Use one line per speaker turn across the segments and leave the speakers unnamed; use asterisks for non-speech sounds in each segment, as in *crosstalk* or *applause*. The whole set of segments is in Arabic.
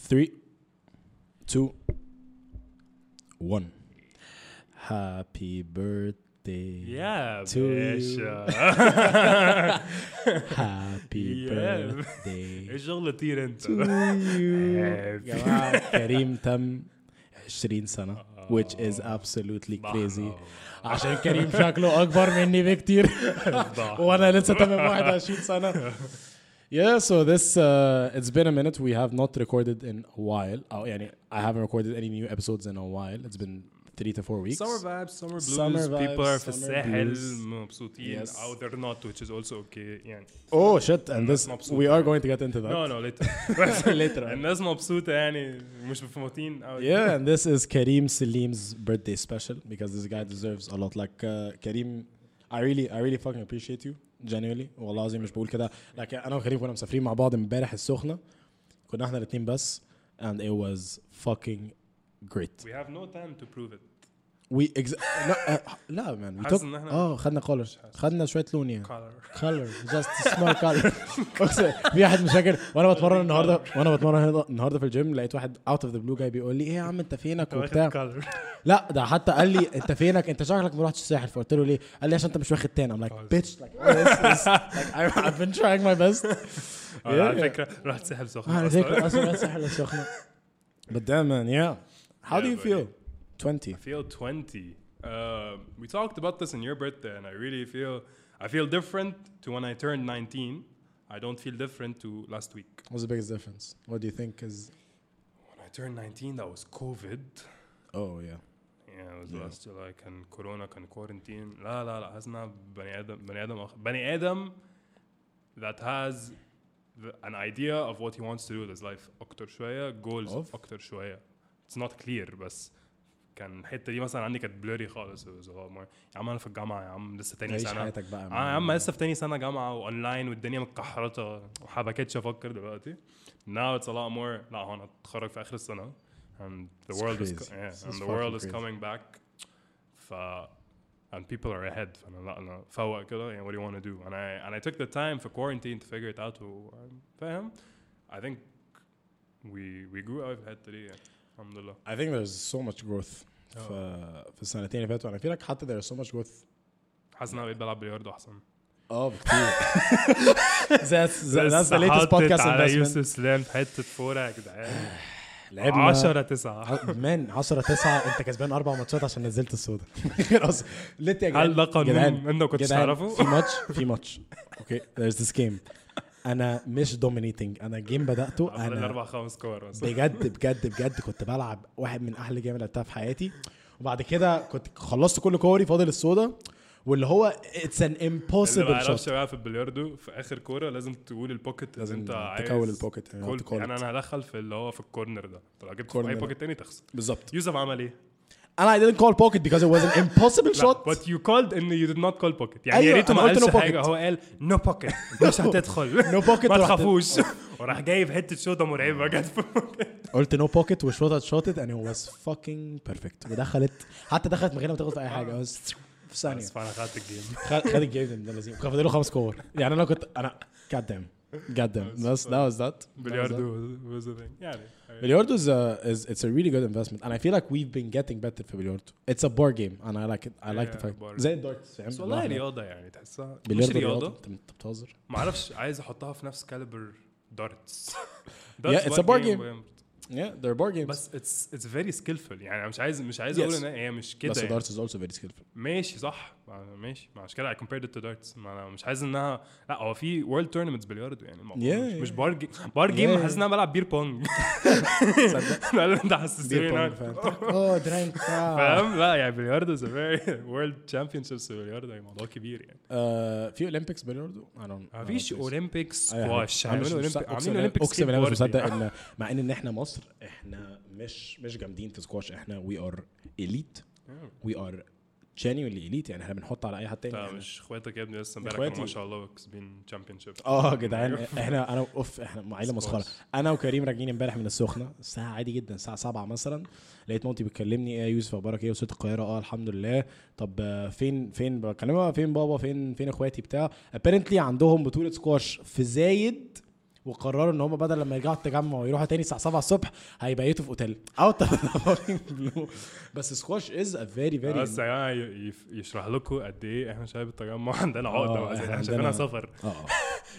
Three, two, one. Happy birthday.
Yeah,
to you. *laughs*
باشا
Happy
*laughs* Yeah. *laughs*
birthday
ايش شغلتين انت؟
to you.
Happy.
جماعة كريم تم 20 سنة which is absolutely
*laughs*
crazy عشان كريم شكله أكبر مني بكتير *laughs* وانا لسه تمام 21 سنه *laughs* Yeah, so this uh, it's been a minute. We have not recorded in a while. Oh, يعني I haven't recorded any new episodes in a while. It's been three to four weeks.
summer vibes summer blues
Summer vibes,
people are في
summer
الساحل
blues.
مبسوطين
Yes.
او they're not which is also okay يعني
Oh shit! And this
مبسوط.
we are going to get into that *laughs*
no no later *laughs*
later.
الناس مبسوطة يعني مش مفهمتين او
yeah, and this is Kareem Salim's birthday special because this guy deserves a lot. Like uh, Kareem, I really, I really fucking appreciate you genuinely. والله العظيم مش بقول كده. Like أنا وكريم كنا مسافرين مع بعض امبارح السخنة. كنا احنا الاتنين بس and it was fucking great.
we have no time to prove it
We ex- *laughs* لا آه، لا man we
حاسس
took
إن إحنا-
اه خدنا color خدنا شوية لون يعني.
color
color just small
*laughs*
color أقسم- في واحد مش فاكر وانا بتمرن النهارده وانا بتمرن النهاردة- النهارده في الجيم لقيت واحد اوت اوف ذا بلو جاي بيقول لي ايه يا عم انت فينك وبتاع
*laughs* color
لا ده حتى قال لي انت فينك انت شكلك ما رحتش الساحل فقلت له ليه؟ قال لي عشان انت مش واخد تان I'm like bitch like all this is like I- I've been trying my best
*laughs*
"Ah,
على
Yeah.
فكرة رحت ساحل سخنة
على
أصلاً.
فكره اصلا الساحل السخنه but damn man yeah how do
Yeah,
you
but-
feel 20
I feel 20. Um, we talked about this in your birthday, and I really feel I feel different to when I turned 19. I don't feel different to last week.
what's the biggest difference what do you think is
When I turned 19, that was COVID.
oh yeah
Yeah, it was
Yeah.
last July. كان كورونا كان quarantine. لا لا لا حسنا بني آدم بني آدم آخر- بني آدم that has the- an idea of what he wants to do with his life أكتر شوية goals
Of.
أكتر شوية. It's not clear بس كان الحتة دي مثلا عندي كانت blurry خالص. It was a lot more. يا عم أنا في الجامعة يا عم لسه تاني
عيش
سنة.
حياتك بقى
اه يا عم لسه في تاني سنه جامعه واونلاين والدنيا متكحرطه وحبكتش افكر دلوقتي now it's a lot more لا هو انا اتخرج في اخر السنه and the
It's
world is
crazy.
co- yeah,
This
and
is
the world
fucking
is
crazy.
coming back ف and people are ahead فانا لا انا فوق كده يعني what do you want to do and I and I took the time for quarantine to figure it out و- فاهم I think we we grew out of الحته دي يعني الحمد لله
I think there's so much growth
آه.
في في السنتين اللي فاتوا انا feel like حتى there's so much growth
حاسس ان انا بقيت بلعب بلياردو احسن آه،
*laughs* اه بكتير
*laughs*
that's that's the latest
حاطط
podcast
على
investment
يوسف سلام في حته فوره يا جدعان
لعبنا
10 9
مان 10 9 انت كسبان اربع ماتشات عشان نزلت *laughs* السودا خلاص ليه يا جدعان
هل ده قانون
جدعان،
انت ما كنتش
جدعان،
تعرفه؟
في ماتش في ماتش اوكي there's this game انا مش dominating انا الجيم بداته
عمل
انا
اربع خمس كور بس
بجد بجد بجد كنت بلعب واحد من احلى جيم اللي لعبتها في حياتي وبعد كده كنت خلصت كل كوري فاضل السودا واللي هو اتس ان
اللي ما
امبوسيبل
يعرفش
شوت
بقى في البلياردو في اخر كوره لازم تقول البوكيت اللي
لازم
انت عايز
تكول البوكيت، يعني
كل
تكول
يعني
it.
انا هدخل في اللي هو في الكورنر ده طب لو جبت في
كورنر.
اي بوكيت تاني تخسر
بالظبط
يوسف عمل ايه؟
انا اي didn't call pocket because it was an impossible shot
بس يو كولد ان يو ديد نوت كول بوكيت يعني يا
أيوة،
ريته ما
أنا قلت
قالش
no pocket.
حاجه هو قال نو بوكيت مش هتدخل
*laughs* No pocket
ما
ورحت-
تخافوش *laughs* وراح جايب حته شوطه مرعبه جت في البوكيت.
قلت نو بوكيت وشوت اتشوتت and it was fucking perfect ودخلت حتى دخلت من غير ما تاخد اي حاجه بس في ثانيه
بس فانا خدت
*laughs*
الجيم
خد خد الجيم ده من لذيذ وكان فاضل له خمس كور يعني انا كنت انا جاد دام جاد دام بس that was that
بلياردو was a thing. يعني
Billiardo is a is it's a really good investment, and I feel like we've been getting better for Billiardo. It's a board game, and I like it. I like the
Yeah,
fact.
board
زي الدارتس
بس والله رياضه يعني تحسها مش
بلياردو
رياضه
رياضة. انت بتهزر
ما اعرفش عايز احطها في نفس كاليبر *laughs* دارتس
*laughs* Yeah, it's a board game. Yeah, they're board games.
بس اتس اتس فيري سكيلفul يعني انا مش عايز مش عايز
Yes.
اقول ان هي مش كده
بس
يعني.
الدارتس is also very
*laughs*
skillful.
ماشي صح ما- ماشي ما عشان كده I compared it to darts ما انا مش عايز انها لا هو في world tournaments بلياردو يعني الموضوع
Yeah,
مش,
yeah.
مش بار جيم بار
Yeah,
جيم
yeah.
حاسس ان انا بلعب بير بونج *laughs* ده اللي انت حسستني
Beer
إن
pong
أنا-
فاهم. *laughs* Oh, drink. Ah.
*laughs* فاهم لا يعني بلياردو از *laughs* فيري وورلد championships بلياردو يعني موضوع كبير يعني
آه، في اولمبيكس بلياردو؟ I don't. آه،
ما فيش اولمبيكس
أي حاجة.
سكواش
يعني أنا مش
عاملين
مصدق- أقسم
اولمبيك عاملين
بالله-
اولمبيك
اقسم بالله مش
skateboarding.
مصدق ان مع ان ان احنا مصر احنا مش مش جامدين في سكواش احنا وي ار اليت وي ار genuinely اليت يعني احنا بنحط على اي حد تاني
انت
يعني.
مش اخواتك يا ابني لسه امبارح
إخواتي.
كانوا ما شاء الله كسبين تشامبيون شيب *laughs*
اه يا جدعان
أيوه.
احنا انا اوف احنا عيله مسخره
سبونس.
انا وكريم راجعين امبارح من السخنه الساعه عادي جدا الساعه 7 مثلا لقيت مامتي بتكلمني ايه يا يوسف اخبارك ايه وصلت القاهره اه الحمد لله طب آه، فين فين بكلمها فين بابا فين فين اخواتي بتاع apparently عندهم بطوله سكواش في زايد وقرروا ان هم بدل لما يرجعوا التجمع ويروحوا تاني الساعه 7 الصبح هيبيتوا في اوتيل اوت *laughs* بس سكواش از ا فيري فيري
آه، بس يا جماعه ي- يف- يشرح لكم قد ايه احنا شباب التجمع عندنا عقده
آه،
بقى،
إحنا
احنا
عندنا-
شايفينها سفر
اه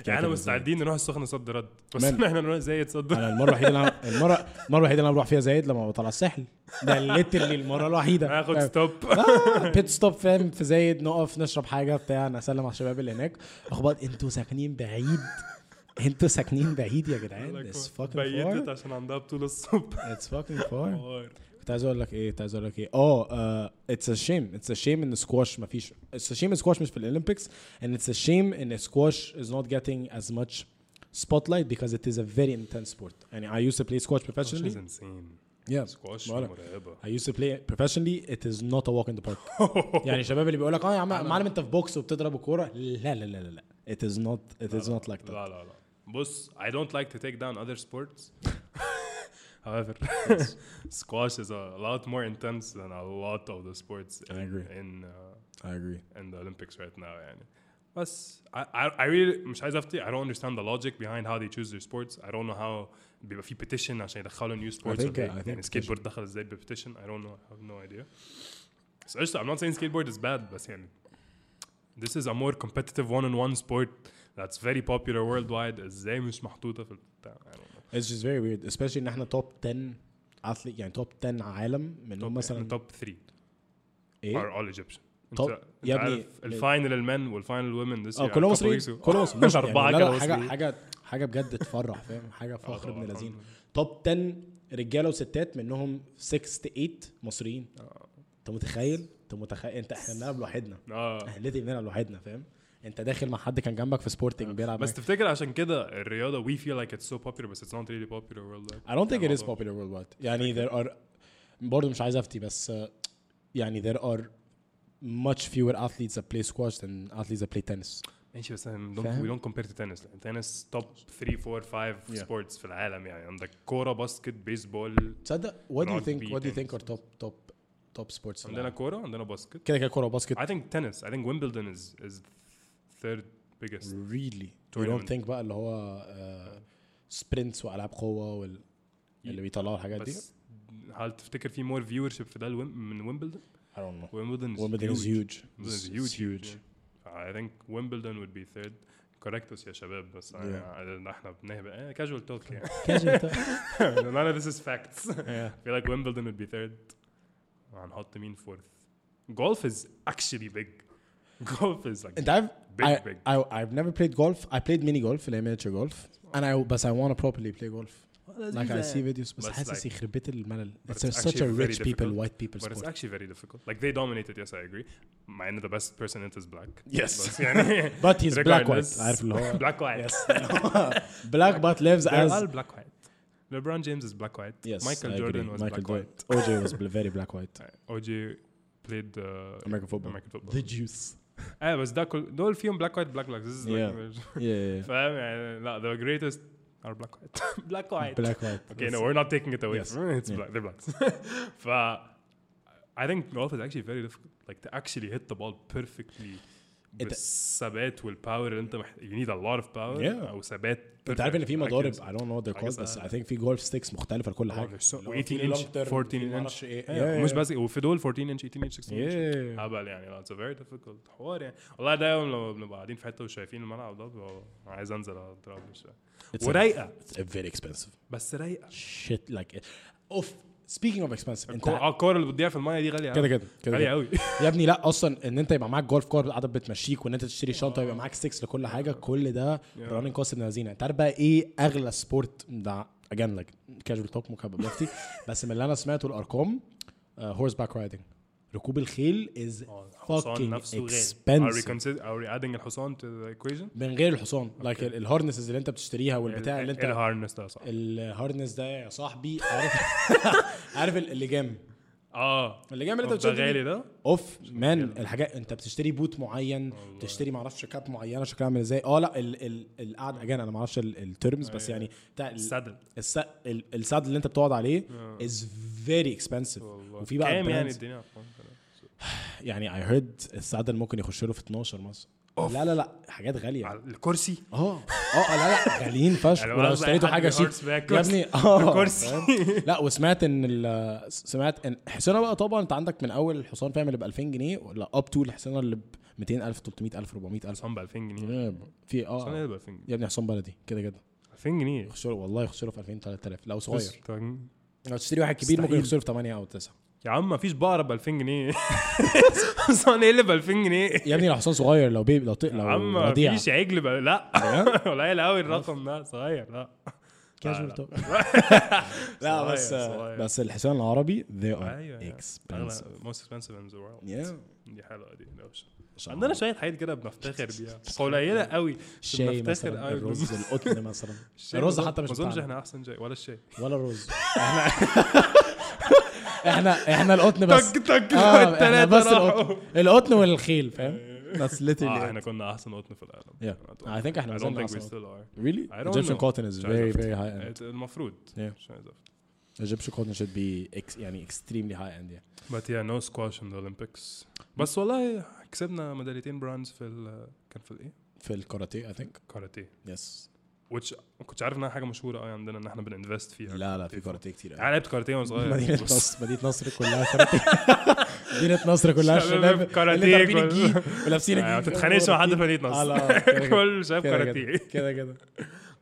يعني احنا مستعدين نروح السخنه صد رد بس
مان.
إن احنا نروح زايد صد رد
انا المره الوحيده اللي أنا- المره المره الوحيده اللي انا بروح فيها زايد لما بطلع الساحل ده ليترلي المره الوحيده
هاخد
فاهم؟
ستوب
آه، بيت ستوب فاهم في زايد نقف نشرب حاجه بتاع نسلم على الشباب اللي هناك اخبط انتوا ساكنين بعيد انتوا ساكنين بعيد يا جدعان اتس فاكينج
بيتت
فار
عشان عندها بطوله الصبح
اتس فاكينج فار
حوار.
كنت عايز اقول لك ايه كنت عايز اقول لك ايه اه اتس ا شيم اتس ا شيم ان سكواش مفيش اتس ا شيم سكواش مش في الاولمبيكس and اتس ا شيم ان سكواش is not getting as much spotlight because it is a very intense sport يعني I used to play squash
Squash
professionally
is insane.
yeah
سكواش
بقولك.
مرعبه
*laughs* I used to play professionally it is not a walk in the park
*laughs*
يعني الشباب اللي بيقول لك اه يا عم معلم انت في بوكس وبتضرب الكوره لا لا لا لا لا it is not it is not like that
لا لا لا بص I don't like to take down other
*laughs*
sports however squash is a lot more intense than a lot of the sports
I
in,
agree.
in uh,
I agree
in the Olympics right now يعني بس I, I, I really مش عايز افتي I don't understand the logic behind how they choose their sports I don't know how بيبقى في petition عشان يدخلوا new sports
think-
ولا
I
إيه.
think
يعني
petition.
skateboard دخل ازاي ب petition I don't know I have no idea بس قشطة I'm not saying skateboard is bad بس يعني this is a more competitive one-on-one sport that's very popular worldwide ازاي مش محطوطة في البتاع I don't know.
it's just very weird especially ان احنا top 10 athlete يعني top 10 عالم منهم
top, يعني
مثلا
top three
ايه
are all Egyptian
طب،
انت
يا
يا
ابني،
ابني الفاينل المان والفاينل وومن this
اه
year
كلهم
a couple
مصريين
weeks ago.
كلهم *laughs*
*laughs*
مصريين مش
أربعة
يعني لا لا
كانوا
حاجه
مصريين.
حاجه حاجه بجد تفرح فاهم حاجه فخر
آه،
ابن
طبعاً.
لذين توب 10 رجاله وستات منهم 6 8 مصريين
آه.
انت متخيل انت متخيل انت احنا بنلعب لوحدنا
اه
*laughs* اهلتي بنلعب لوحدنا فاهم انت داخل مع حد كان جنبك في سبورتنج بيلعب
آه، بس
بس
تفتكر عشان كده الرياضه we feel like it's so popular بس it's not really popular
I
worldwide
don't think it is
الموضوع.
popular worldwide يعني there are برضه مش عايز افتي بس آه، يعني there are much fewer athletes that play squash than athletes that play tennis
ماشي بس um, don't,
فاهم؟
we don't compare to tennis like, tennis top 3 4 5
Yeah.
sports في العالم يعني عندك كوره باسكت بيسبول
تصدق what do you
Rugby,
think what do you think
tennis.
are top top top sports
عندنا كوره عندنا باسكت
كده كده كوره وباسكت
I think tennis I think Wimbledon is is third biggest
ريلي يو دونت
Tournament.
ثينك بقى اللي هو آه، سبرنتس والعاب قوه وال اللي بيطلعوا الحاجات دي
بس هل تفتكر في more viewership في ده الويم- من ويمبلدون؟
I don't know
ويمبلدون is
Wimbledon is
huge.
huge
Wimbledon is
It's
huge, huge.
*laughs*
I think Wimbledon would be third. Correct us يا شباب بس yeah. احنا بنهبق كاجوال توك يعني *laughs* none of this is facts. *laughs*
Yeah.
I feel like Wimbledon would be third. هنحط مين fourth? Golf is actually big. *laughs* Golf is like
انت عارف
Big,
I,
big.
I, I've never played golf I played mini golf اللي هي miniature golf and I but I want to properly play golf like I see videos بس
But it's
حاسس
like-
يخرب بيت الملل
but
it's a-
it's
such a
actually very
rich people
difficult.
white people
but it's
sport
actually very difficult. Like they dominated. Yes, I agree. مع ان the best person in it is black.
Yes.
بس يعني
but *laughs* he's black white
regardless-
عارف اللي هو
*laughs* black white.
yes *laughs* black but lives as
They're all black white. LeBron James is black white.
yes
Michael
I
Jordan
agree.
was
Michael
black
Jordan. OJ was very black white
white. OJ played uh,
American football.
*laughs* American football.
the
*laughs*
juice
اه بس ده كل دول فيهم black white black black. This is
Yeah.
like *laughs*
yeah,
فاهم يعني لا the greatest are black white black
yeah. black white
okay no we're not taking it away
Yes.
from *laughs* it's
Yeah.
black they're blacks ف I think golf is actually very difficult like to actually hit the ball perfectly
It-
بالثبات والباور اللي انت محت... you need a lot of power
Yeah.
او ثبات
انت عارف ان في
perfect
مضارب
accuracy.
I don't know what they're
I guess
called بس
I-
I think في جولف ستيكس مختلفة لكل
Oh,
حاجة
there's so-
اللي هو
18
في
inch
long term،
14
في
inch
معرفش ايه.
yeah,
Yeah,
مش
yeah.
آه، بس وفي دول 14 inch 18 inch 16 inch
Yeah.
هبل يعني لا اتس فيري ديفيكولت حوار يعني والله دايما لما بنبقى قاعدين في حته وشايفين الملعب ده ببقى عايز انزل اضرب شويه
It's
ورايقه
a- It's very expensive
بس رايقه
shit like اوف speaking of expensive
الكو-
انت
اه الكوره اللي بتضيع في المايه دي غاليه
كده
أوي.
كده كده
غاليه
كده.
قوي
*laughs* يا ابني لا اصلا ان انت يبقى معاك جولف كار بالعدد بتمشيك وان انت تشتري شنطه يبقى معاك 6 لكل حاجه كل ده رانينج كوست ابن لذينه انت عارف بقى ايه اغلى سبورت ده اجان لك كاجوال توك ممكن ابقى
*laughs*
بفتي بس من اللي انا سمعته الارقام هورس باك رايدنج ركوب الخيل از
آه، الحصان
fucking
نفسه غالي are we
expensive
consider- are we adding الحصان to the equation
من غير الحصان لايك الهارنسز اللي انت بتشتريها والبتاع اللي انت
الهارنس ده صح
الهارنس ده يا صاحبي
*laughs*
عارف عارف اللجام
اه
اللجام اللي انت
طب ده
بتشتري
غالي ده
اوف مان الحاجات انت بتشتري بوت معين بتشتري معرفش كاب معينه شكلها عامل ازاي اه لا ال- ال- القعد اجان انا معرفش الترمز
آه،
بس يعني بتاع ال-
السدل
الس- ال- السد اللي انت بتقعد عليه از فيري اكسبنسيف وفي بقى
آه. كام يعني
يعني
الدنيا
يعني اي هيرد السعد اللي ممكن يخش له في 12 مثلا
اوف
لا لا لا حاجات غاليه
على الكرسي
اه اه لا لا غاليين
*laughs*
فشخ
يعني
ولو
والله
اشتريتوا
حد
حاجه شيك يا
بالهارد باك كرسي. *laughs*
ابني اه
كرسي.
فاهم؟ لا وسمعت ان ال- سمعت ان حصانه بقى طبعا انت عندك من اول الحصان فاهم اللي ب 2000 جنيه ولا اب تو الحصانه اللي ب 200000 300000 400000
*laughs* حصان ب 2000 جنيه
في
حصان
اه
ايه ب 2000 جنيه
يا ابني حصان بلدي كده كده
2000 جنيه
يخسروا والله يخسروا في 2000 3000 لو
بس
صغير
طيب.
لو تشتري واحد كبير ممكن
مستحيل.
يخسروا في 8 او 9
يا عم مفيش بقره ب 2000 جنيه *laughs* حصان ايه اللي ب 2000 جنيه
يا ابني لو حصان صغير لو بيبي لو طيق
يا
لو
عم
رضيع
مفيش عجل ب... لا *laughs* قليل قوي الرقم ده صغير لا
casual
لا.
talk.
*laughs*
لا بس
صغير، صغير.
بس الحصان العربي they
أيوة،
are
أيوة.
expensive
موست اكسبنسيف ان ذا وورلد
Yeah.
دي حلقه دي دوشه
شاء الله.
عندنا شويه حاجات كده بنفتخر
*laughs*
بيها قليله قوي
الشاي
بنفتخر
مثلا
قوي
الرز
*laughs*
القطن مثلا
الشاي
الرز
ما
حتى مش
ما اظنش
بتاعنا.
احنا احسن شيء ولا الشاي
ولا الرز احنا *laughs* احنا احنا القطن بس
تك تك
اه احنا
التلاتة
بس
راحوا
القطن القطن والخيل فاهم بس
اه
literally
احنا كنا احسن قطن في العالم
Yeah. I think احنا
I
ما
don't
زلنا
think we
أحسن
still are
really
I don't
Egyptian
know.
cotton is very
مش عارف.
very high end
It- المفروض
Yeah.
مش عايز أفتح.
Egyptian cotton should be ex- يعني extremely high end yeah
But yeah no squash in the Olympics بس والله كسبنا ميداليتين برونز في ال كان في الايه؟
في الكاراتيه I think
كاراتيه
yes
which ما كنتش عارف انها حاجه مشهوره قوي عندنا ان احنا بننفست فيها
لا لا في كاراتيه كتير
*laughs*
أوي.
انا لعبت كاراتيه وانا صغير
مدينة
بس-
نصر مدينة نصر كلها
*laughs*
كاراتيه مدينة نصر كلها
شباب
الشباب اللي
كاراتيه
لابسين
كل-
الجيب
*laughs*
ولابسين الجيب
يعني ما
*laughs*
تتخانقش مع حد في مدينة
آه،
نصر
لا، آه، كده كده.
*laughs* كل شايف
كده كده.
كاراتيه
كده كده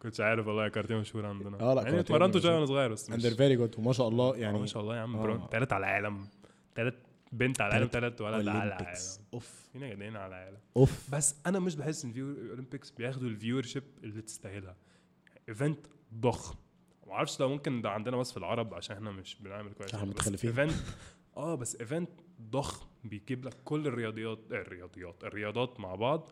كنتش عارف والله كاراتيه مشهور عندنا
آه، لا،
يعني
كاراتيه
اتمرنت
مشهور.
شويه وانا صغير بس
and
مش-
they're very good وما شاء الله
يعني
يعني
ما شاء الله يا عم
آه.
برون تلات على العالم تلات بنت على العالم تلات ولد على العالم
Olympics. اوف
فينا جدعين على العالم
اوف
بس انا مش بحس ان فيو الاولمبيكس بياخدوا الفيور شيب اللي تستاهلها ايفنت ضخم ما اعرفش لو ممكن ده عندنا بس في العرب عشان احنا مش بنعمل كويس
إحنا
بس
متخلفين.
ايفنت اه بس ايفنت ضخم بيجيب لك كل الرياضيات آه، الرياضيات الرياضات مع بعض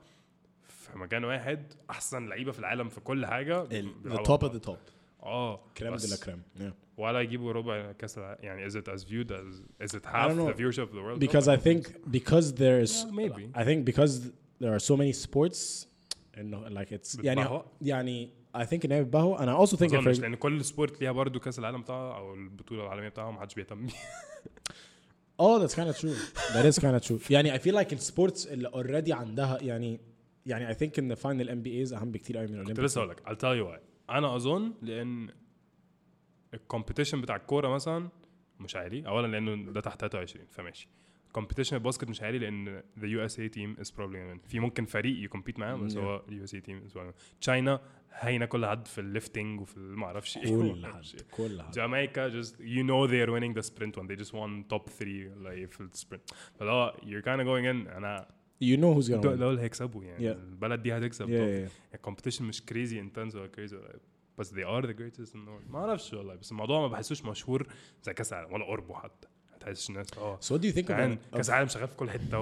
في مكان واحد احسن لعيبه في العالم في كل حاجه بيلعبوا مع
التوب اوف
بعض.
ذا توب
اه
كريم
بس
دي لا كريم
ولا يجيبوا ربع كاس الع- يعني is it as viewed as is it
I
half
don't know.
the viewership of the world
because I think because there's
Well, maybe.
I think because there are so many sports and like it's يعني
بتبهوأ؟
يعني I think ان هي بتبهوأ and I also think if
ما اظنش
we're-
لان كل سبورت ليها برضه كاس العالم بتاعها او البطوله العالميه بتاعها ما حدش بيهتم بيها
oh that's kind of true that is kind of true يعني I feel like in sports اللي already عندها يعني يعني I think ان final NBAs اهم بكتير قوي من الاولمبيكس
كنت لسه هقول لك I'll tell you why انا اظن لان الكومبيتيشن بتاع الكوره مثلا مش عالي اولا لانه ده تحت 23 فماشي كومبيتيشن الباسكت مش عالي لان ذا يو اس اي تيم از بروبلي في ممكن فريق يكمبيت معاه بس
Yeah.
هو يو اس اي تيم تشاينا هاينه كل حد في الليفتنج وفي المعرفش ايه
*laughs*
*laughs*
كل
ومعرفش
حد كل حد
Jamaica just you know they're winning the sprint one. They just won top three like في السبرنت. فلا you're kind of going in انا
you know who's gonna
دول
win
دول هيكسبوا يعني
Yeah.
البلد دي هتكسب
yeah yeah, yeah.
الكومبيتيشن مش كريزي انتنس ولا كريزي ولا إيه؟ بس they are the greatest in the world ما اعرفش والله بس الموضوع ما بحسوش مشهور زي كاس العالم ولا قربه حتى ما تحسش الناس اه
so يعني what do you think
كمان
about
كاس العالم شغال في كل حته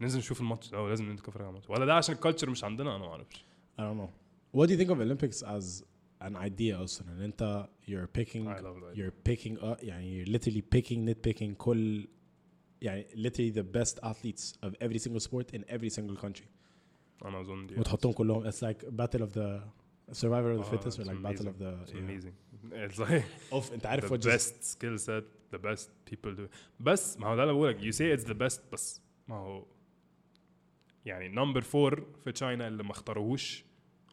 وننزل نشوف الماتش ده ولازم نتفرج على الماتش ولا ده عشان الكالتشر مش عندنا انا ما اعرفش
I don't know. What do you think of Olympics as an idea اصلا ان انت you're picking
I love that.
you're picking up يعني you're literally picking nitpicking كل يعني literally the best athletes of every single sport in every single country
انا اظن دي
وتحطهم كلهم it's like battle of the survivor of the
آه،
fittest or
Oh, it's
like battle of the
It's
yeah.
amazing. *laughs* It's like
اوف انت
the
عارف what just
best skill set the best people do بس ما هو ده اللي بقولك you say it's the best بس ما هو يعني نمبر فور في تشاينا اللي ما اختاروهوش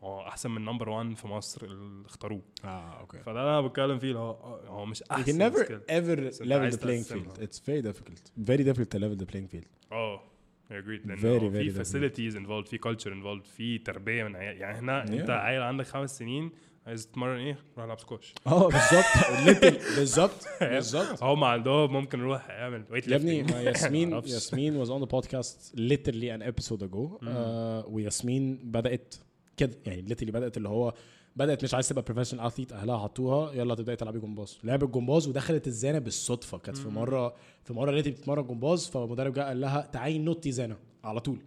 هو احسن من نمبر 1 في مصر اللي اختاروه
اه اوكي
فده اللي انا بتكلم فيه اللي هو آه، هو مش
Ah, You can
احسن
never
skill.
ever
بس
level
أنت عايز
the playing
تقسمها.
field. It's very difficult. Very difficult to level the playing
*laughs*
field.
اه I agreed لان
Very,
هو
very
في
different.
facilities involved في culture involved في تربيه من عيال يعني هنا انت
Yeah.
عيل عندك خمس سنين عايز تتمرن ايه؟ روح العب سكوش
اه بالظبط Oh, Literally. بالظبط
*laughs*
بالظبط
هم عندهم ممكن نروح اعمل ويت
يا ابني
*laughs*
ما ياسمين
معرفش.
ياسمين was on the podcast literally an episode ago uh, وياسمين بدأت كده يعني literally بدأت اللي هو بدأت مش عايز تبقى بروفيشنال اثليت اهلها حطوها يلا تبداي تلعبي جمباز لعبت جمباز ودخلت الزانه بالصدفه كانت في مره في مره لقيتي بتتمرن جمباز فالمدرب جه قال لها تعالي نطي زانه على طول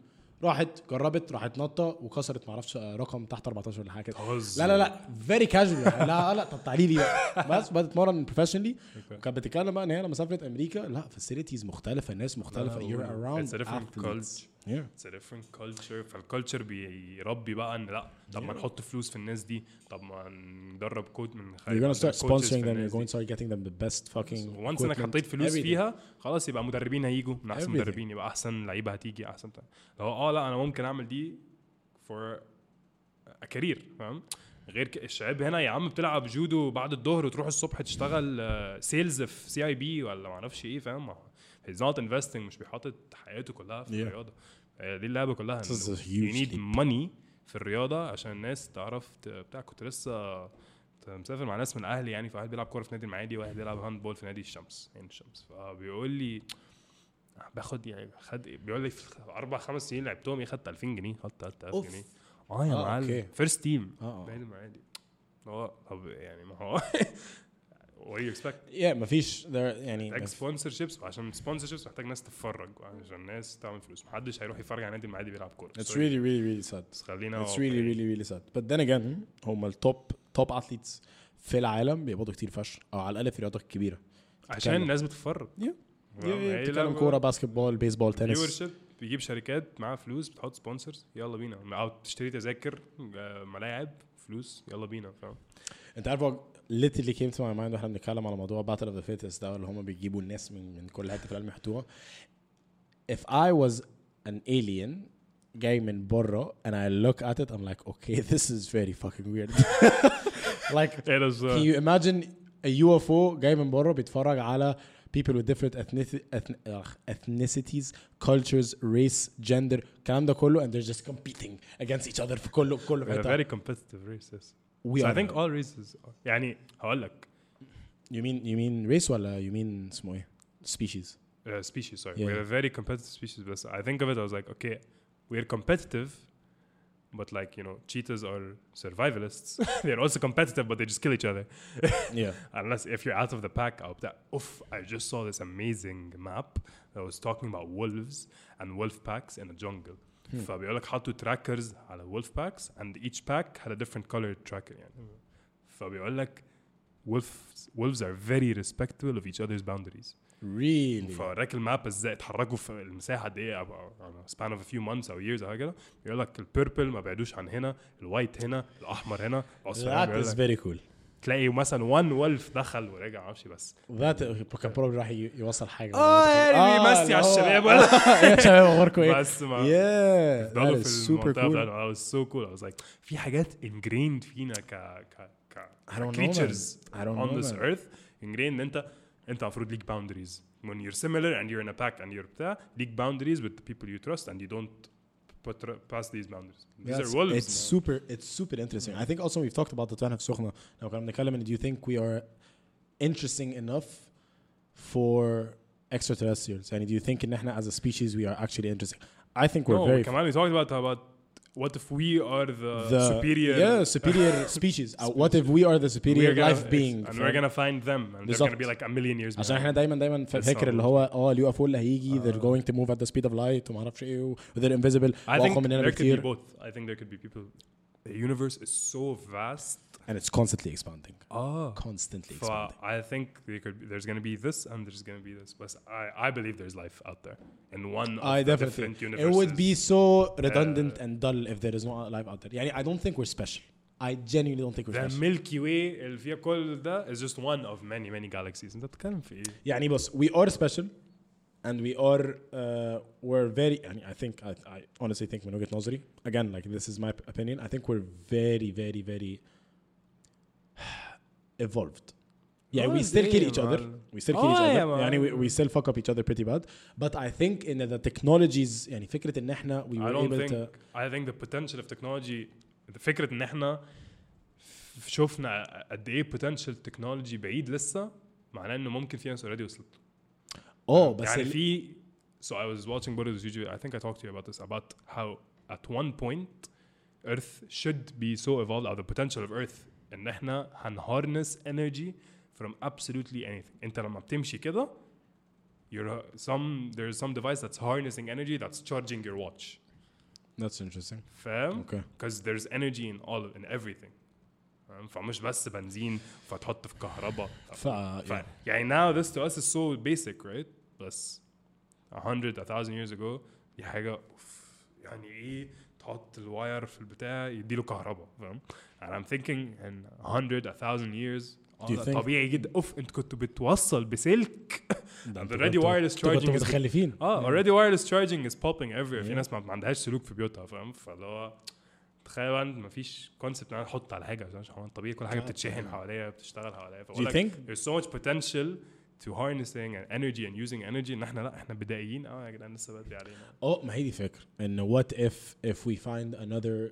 راحت جربت راحت نطه وكسرت معرفش آه، رقم تحت 14 ولا حاجه كده
تهزر.
لا لا لا فيري كاجوال لا لا طب تعالي لي بقى. بس بدات تتمرن بروفيشنالي وكانت بتتكلم بقى ان هي لما سافرت امريكا لا فاسيلتيز مختلفه الناس مختلفه
لا،
يور
بقول لك. It's a
اراوند
different culture.
yeah.
It's a different culture فالكالتشر بيربي بقى ان لا طب ما نحط فلوس في الناس دي طب ما ندرب كود من
You're gonna start sponsoring them. You're
them
going to start getting them the best fucking.
وانس انك
equipment,
حطيت فلوس
everything.
فيها خلاص يبقى مدربين هيجوا من احسن
Everything.
مدربين يبقى احسن لعيبه هتيجي احسن بتاع. لو اه لا انا آه، ممكن اعمل دي for a career فاهم غير ك- الشباب هنا يا عم بتلعب جودو بعد الظهر وتروح الصبح تشتغل آه، سيلز في سي اي بي ولا ما اعرفش ايه فاهم هيز نوت انفستنج مش بيحاطط حياته كلها في
Yeah.
الرياضه آه، دي اللعبه كلها
This is a
يو
huge
نيد
leap.
ماني في الرياضه عشان الناس تعرف ت- بتاع كنت لسه كنت مسافر مع ناس من اهلي يعني فواحد بيلعب كوره في نادي المعادي وواحد بيلعب هاند بول في نادي الشمس عين الشمس فبيقول لي باخد يعني خد بيقول لي في اربع خمس سنين لعبتهم ايه خدت 2000 جنيه خدت 3000
أوف.
جنيه اه يا
آه،
معلم
أوكي.
فيرست تيم
اه
نادي المعادي هو طب يعني ما هو *laughs* وات يو اكسبكت
يا مفيش there- يعني
محتاج
مف-
سبونسر شيبس وعشان سبونسر شيبس محتاج ناس تتفرج وعشان ناس تعمل فلوس محدش هيروح يتفرج على نادي المعادي بيلعب كوره
it's
Sorry.
really really really sad
بس خلينا
it's really really really sad but then again هم التوب توب اثليتس في العالم بيقبضوا كتير فشخ او على الاقل في الرياضات الكبيره
عشان
بتتكلم.
الناس بتتفرج
Yeah. بتتكلم كوره باسكت بول بيسبول تنس
فيورشيب بيجيب شركات معاها فلوس بتحط سبونسرز يلا بينا او تشتري تذاكر آه، ملاعب فلوس يلا بينا فاهم
انت عارف هو literally came to my mind واحنا بنتكلم على موضوع باتل اوف ذا فيتس ده اللي هم بيجيبوا الناس من من كل حته في العالم يحطوها if I was an alien جاي من بره and I look at it I'm like okay *laughs* this is very fucking weird *laughs* like
ايه ده
can you imagine a UFO جاي من بره بيتفرج على people with different ethnici- ethn- آخ، ethnicities, cultures, race, gender الكلام ده كله and they're just competing against each other في كله كله في
They're
حتة.
very competitive races.
We
so I
are
think all races are. يعني هقول لك
You mean you mean race ولا you mean اسمه ايه؟ species.
uh, species sorry
Yeah.
we're a very competitive species but I think of it I was like okay we're competitive but like you know cheetahs are survivalists *laughs* they're also competitive but they just kill each other
Yeah.
unless if you're out of the pack out that oof I just saw this amazing map that was talking about wolves and wolf packs in a jungle
Hmm.
فبيقول لك حطوا trackers على wolf packs and each pack had a different colored tracker يعني
Hmm.
فبيقول لك wolves wolves are very respectful of each other's boundaries
Really.
فوراك الماب ازاي اتحركوا في المساحه قد ايه أو- أو- أو span of a few months او years او حاجه كده يقول لك البيربل ما بعدوش عن هنا الوايت هنا الاحمر هنا
That
الاصفر
is
هنا
very cool.
تلاقي مثلا وان ولف دخل ورجع معرفش بس
That كان probably راح ي- يوصل حاجة. *laughs*
اه يعني بيمسي
اللي
على
هو-
الشباب ولا
*laughs* يا شباب اخباركم ايه؟
بس ما
Yeah. That
ضلوا
is
في
super
المنطقه
cool.
بتاعتنا was so cool I was like في حاجات ingrained فينا ك ك ك
I don't know,
creatures
man. I don't
on
know,
this
man.
earth ingrained ان انت انت المفروض ليك boundaries when you're similar and you're in a pack and you're بتاع ليك boundaries with the people you trust and you don't put- pass these boundaries these
Yes,
are wolves
It's
man.
super it's super interesting. I think also we've talked about the واحنا في سخنة لو كنا بنتكلم ان do you think we are interesting enough for extraterrestrials? يعني do you think ان احنا as a species we are actually interesting? I think we're
no,
very
كمان we talked about about what if we are the,
the
superior
yeah
*laughs*
superior species Uh, what if we are the superior
gonna-
life being
and we're gonna find them and they're gonna be
بالظبط.
like a million years
عشان احنا
behind.
دايما دايما فا-
It's Uh,
فاكر اللي هو اه اليو اف او اللي هيجي they're going to move at the speed of light وما اعرفش ايه و they're invisible
I think
واقوى مننا
there could be
بكتير
both. I think there could be people. The universe is so vast.
and it's constantly expanding
Ah.
آه. constantly
So
expanding
I think there could be, there's going to be this and there's going to be this. But I, I believe there's life out there in one of
I
the
definitely
different
it
universes. Uh,
would be so redundant and dull if there is no life out there يعني I don't think we're special I genuinely don't think we're
the
special
Milky Way اللي فيها كل ده is just one of many many galaxies. انت بتتكلم في ايه؟
يعني بص we are special and we are uh, we're very يعني I think I, I honestly think من وجهة نظري again like this is my opinion I think we're very very very *sighs* evolved yeah we
Oh,
still kill
damn,
each other
man.
we still
Oh,
kill each other
yeah,
يعني we,
man.
we still fuck up each other pretty bad but I think in the technologies يعني فكرة ان احنا we
I
were
don't
able
think
to
I think the potential of technology فكرة ان احنا شفنا قد ايه potential technology بعيد لسه معناه انه ممكن في ناس already وصلت له.
اه Oh, بس
يعني
ال-
في so I was watching برضه this YouTube I think I talked to you about this about how at one point Earth should be so evolved or the potential of Earth ان احنا هنharness energy from absolutely anything انت لما بتمشي كده you're some there's some device that's harnessing energy that's charging your watch
That's interesting.
فاهم؟
Okay.
because there's energy in all of in everything فاهم؟ فمش بس بنزين فتحط في كهرباء
ف
ف... يعني now this to us is so basic right بس a hundred a thousand years ago دي حاجة أوف يعني ايه تحط الواير في البتاع يديله كهرباء فاهم and I'm thinking in a hundred a thousand years آه،
Do you
ده
think-
طبيعي جدا اوف انت كنت بتوصل بسلك and
انتوا
already
كنتوا-
wireless
انتوا كنتوا
charging is
متخلفين
اه already wireless charging is popping everywhere في
Yeah.
ناس ما ما عندهاش سلوك في بيوتها فاهم فاللي هو تخيل بقى إن مفيش كونسبت ان انا احط على حاجه عشان هو طبيعي كل حاجه بتتشحن حواليا بتشتغل حواليا
Do you
فبقول لك
think
there's so much potential to harnessing and energy and using energy ان احنا لا احنا بدائيين قوي يا جدعان لسه بدري علينا
اه Oh، ما هي دي فكرة ان what if if we find another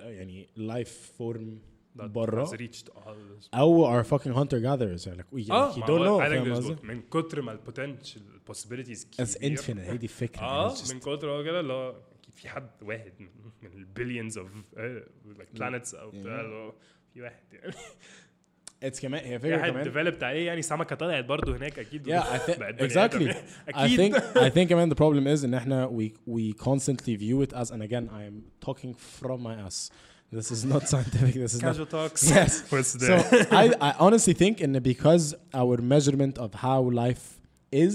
يعني life form
That
برا
has reached all this.
او our fucking hunter gatherers like we like you
Ah, ما
don't
هو
know
I think
فاهم
there's
قصدي؟
both. من كتر ما البوتنشال possibilities
It's
كبير.
infinite هي دي فكرة
اه
يعني it's just-
Ah، من كتر ما هو كده اللي هو اكيد في حد واحد من- من البليونز اوف لايك بلانتس او بتاع اللي هو في واحد *laughs* يعني
it's كمان هي
في
فكرة
حد
أيوة كمان
ديفلوبت عليه يعني سمكه طلعت برضه هناك اكيد
Yeah,
*laughs*
I think-
بقت بني
exactly.
آدم.
I
اكيد
think
*laughs*
I think كمان the problem is ان احنا we we constantly view it as and again I am talking from my ass this is not *laughs* scientific this is not
casual talks
*laughs* Yes.
What's
So
there? *laughs*
I, I honestly think in because our measurement of how life is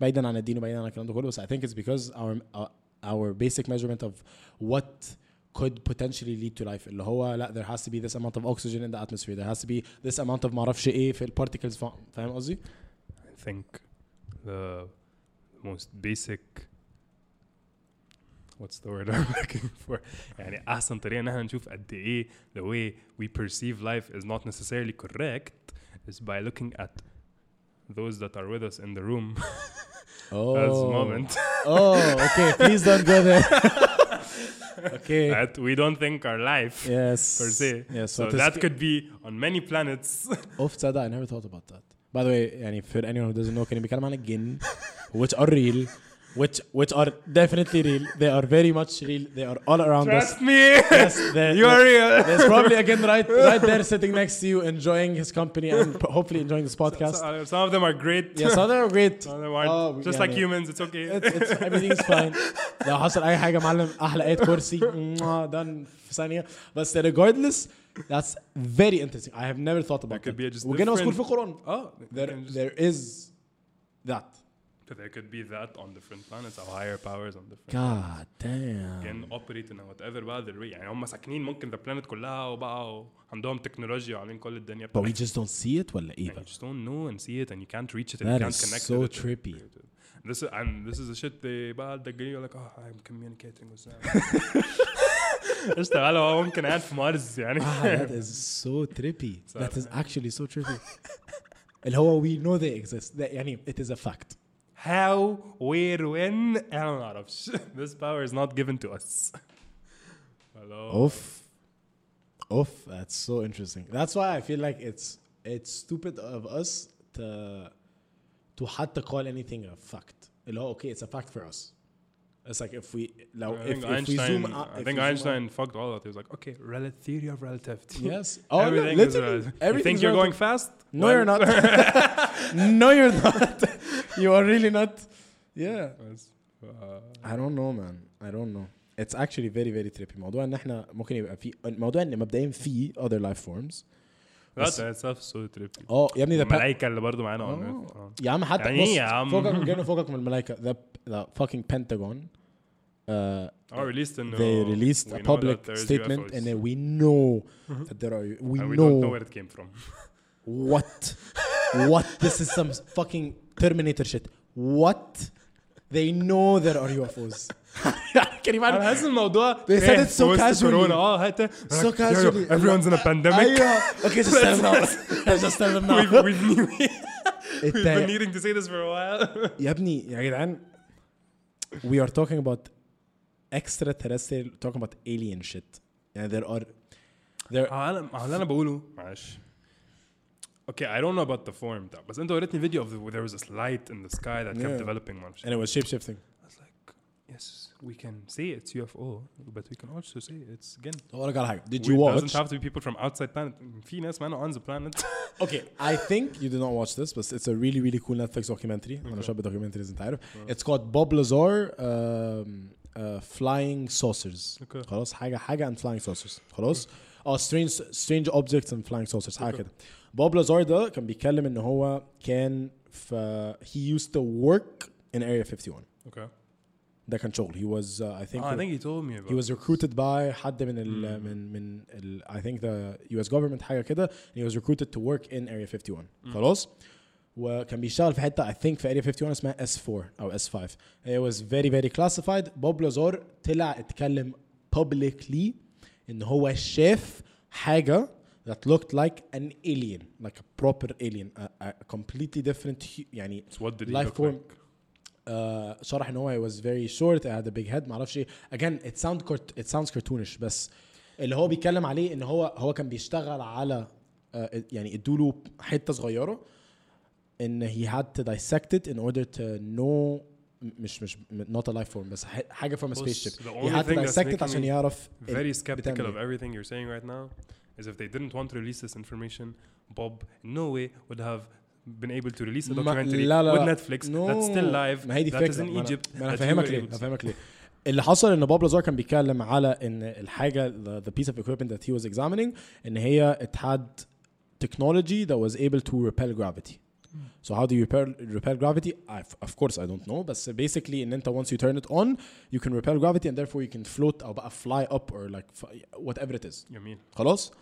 بعيدا عن الدين وبعيدا عن الكلام ده كله بس I think it's because our uh, our basic measurement of what could potentially lead to life اللي هو لا there has to be this amount of oxygen in the atmosphere there has to be this amount of معرفش ايه في ال particles فا- فاهم قصدي؟
I think the most basic what's the word *laughs* I'm looking for يعني أحسن طريقة إن احنا نشوف قد إيه the way we perceive life is not necessarily correct is by looking at those that are with us in the room *laughs*
oh
at the moment *laughs*
oh okay please don't go there *laughs*
*laughs*
okay
that we don't think are life
yes
per se
yes
so
what is-
that could be on many
*laughs*
planets
اوف تصدق I never thought about that by the way يعني for anyone who doesn't know كان بيتكلم عن الجن which are real which which are definitely real they are very much real they are all around us
trust me *laughs*
yes they
you are real
there's probably again right right there sitting next to you enjoying his company and pro- hopefully enjoying this podcast
So- uh, some of them are great
yes other great
*laughs* some of them aren't
Oh,
just
يعني-
like humans it's okay
it's, it's everything's fine لو حصل اي حاجه معلم احلى ايه كرسي دان في ثانيه بس regardless that's very interesting I have never thought about
could be
that
just
وكان مذكور
different-
في القرآن
Oh,
there,
there,
there is that.
there could be that on different planets or higher powers on different
God damn.
can operate in whatever بقى their way يعني هم ساكنين ممكن the planet كلها وبقى عندهم تكنولوجيا وعاملين كل الدنيا
But we just don't see it ولا ايه
and you
بقى؟
just don't know and see it and you can't reach it and
That
you can't
is
connect
so
with it.
trippy.
This is, and this is the shit they بقى الدجالين يقول لك oh I'm communicating with them
*laughs*
ايش تعالى هو ممكن قاعد في مارس يعني
Ah, that is so trippy.
So-
That is actually so trippy. اللي هو we know they exist. That يعني it is a fact.
how where when انا ما اعرفش *laughs* this power is not given to us Hello.
Oof. Oof. That's so interesting. That's why I feel like it's it's stupid of us to to حتى call anything a fact. اللي هو okay it's a fact for us. It's like if we لو
I
if,
think
if we zoom
Einstein,
out
I
if
think
we zoom out-
Einstein fucked all that. He was like, okay, rel- theory of
*laughs*
relativity. *laughs*
Yes. Oh, no,
everything is
literally,
relative. You
everything's
think you're
relative.
going fast?
No,
Well,
you're not. *laughs* no, you're not. you are really not. Yeah.
yes. Uh,
I don't know, man. I don't know. It's actually very very trippy. موضوع ان احنا ممكن يبقى في موضوع ان مبدئيا في other life forms.
That in itself is so trippy.
اه Oh, يا ابني ده
الملايكة اللي برضه معانا on
آه.
Earth. آه.
يا عم حتى
يعني إيه
بص،
يا عم؟ *laughs*
فوقك من الجن وفوقك من الملائكه ذا ذا fucking Pentagon uh,
Or at least oh, in
they
uh,
released
we
a
know
public
that there is
statement
UFOs.
and we know that there are we
Uh-huh. And we
know
don't know where it came
*laughs*
from. *laughs*
What? what? This is some fucking Terminator shit. What? They know there are
*laughs*
UFOs. Can you
أنا
imagine?
حاسس الموضوع Oh,
They said
تافه
it's so
في وسط
casually.
كورونا. اه هات
So casually.
Everyone's in a pandemic.
أيوة. Okay, just tell them
*laughs*
now. Let's just tell them
We've,
now.
*laughs* we've, knew-
*laughs* It,
we've
uh,
been needing to say this for a while.
يا ابني يا جدعان we are talking about extraterrestrial talking about alien shit يعني there are there
اه انا اه اللي انا بقوله معلش اوكي I don't know about the form بتاع بس انت وريتني فيديو of the, where there was this light in the sky that kept
Yeah.
developing ما اعرفش
and it was shape shifting
I was like yes we can say it's UFO but we can also say it's again
هقول لك على حاجه did
We-
you
it
watch
doesn't have to be people from outside planet في ناس معانا on the
*laughs*
planet
Okay, I think you did not watch this, but it's a really, really cool Netflix documentary. Okay. شاب documentaries انت عارف. It's called Bob Lazar um, uh, Flying Saucers.
Okay.
خلاص حاجة حاجة and Flying Saucers. خلاص. اه strange strange objects and flying saucers حاجة كده. Bob Lazar ده كان بيتكلم ان هو كان في uh, he used to work in Area 51.
okay
ده كان شغل. He was uh, I think
Ah, I think he told me about
he was recruited by حد من ال من من ال I think the US government حاجه كده and he was recruited to work in area 51 خلاص وكان بيشتغل في حته I think في area 51 اسمها S4 او S5 it was very very classified بوب لازار طلع اتكلم publicly ان هو شاف حاجه that looked like an alien like a proper alien a, a completely different hu- يعني
So what did he
life
look
form
like?
آه، شرح ان هو I was very short I had a big head معرفش ايه again it sound cart- it sounds cartoonish بس اللي هو بيتكلم عليه ان هو هو كان بيشتغل على آه، يعني ادوله حته صغيره ان he had to dissect it in order to know م- مش مش م- not a life form بس ح- حاجه from a
بص،
spaceship
the
he
only
had
thing
to
that's
dissect
making
it عشان
me
يعرف ال-
very skeptical
بتعمل
of
إيه.
everything you're saying right now is if they didn't want to release this information, Bob in no way would have been able to release a
ما-
documentary
لا- لا-
with
لا.
Netflix
No.
that's still live.
ما هي دي
that is
فكرة
in
ما أنا-
Egypt.
ما انا
that you were
فاهمك ليه
able
انا
to-
فاهمك ليه اللي حصل ان باب لازار كان بيتكلم على ان الحاجه the piece of equipment that he was examining ان هي it had technology that was able to repel gravity So how do you repel, repel gravity? I, of course I don't know but basically ان انت once you turn it on you can repel gravity and therefore you can float او بقى fly up or like f- whatever it is
جميل.
خلاص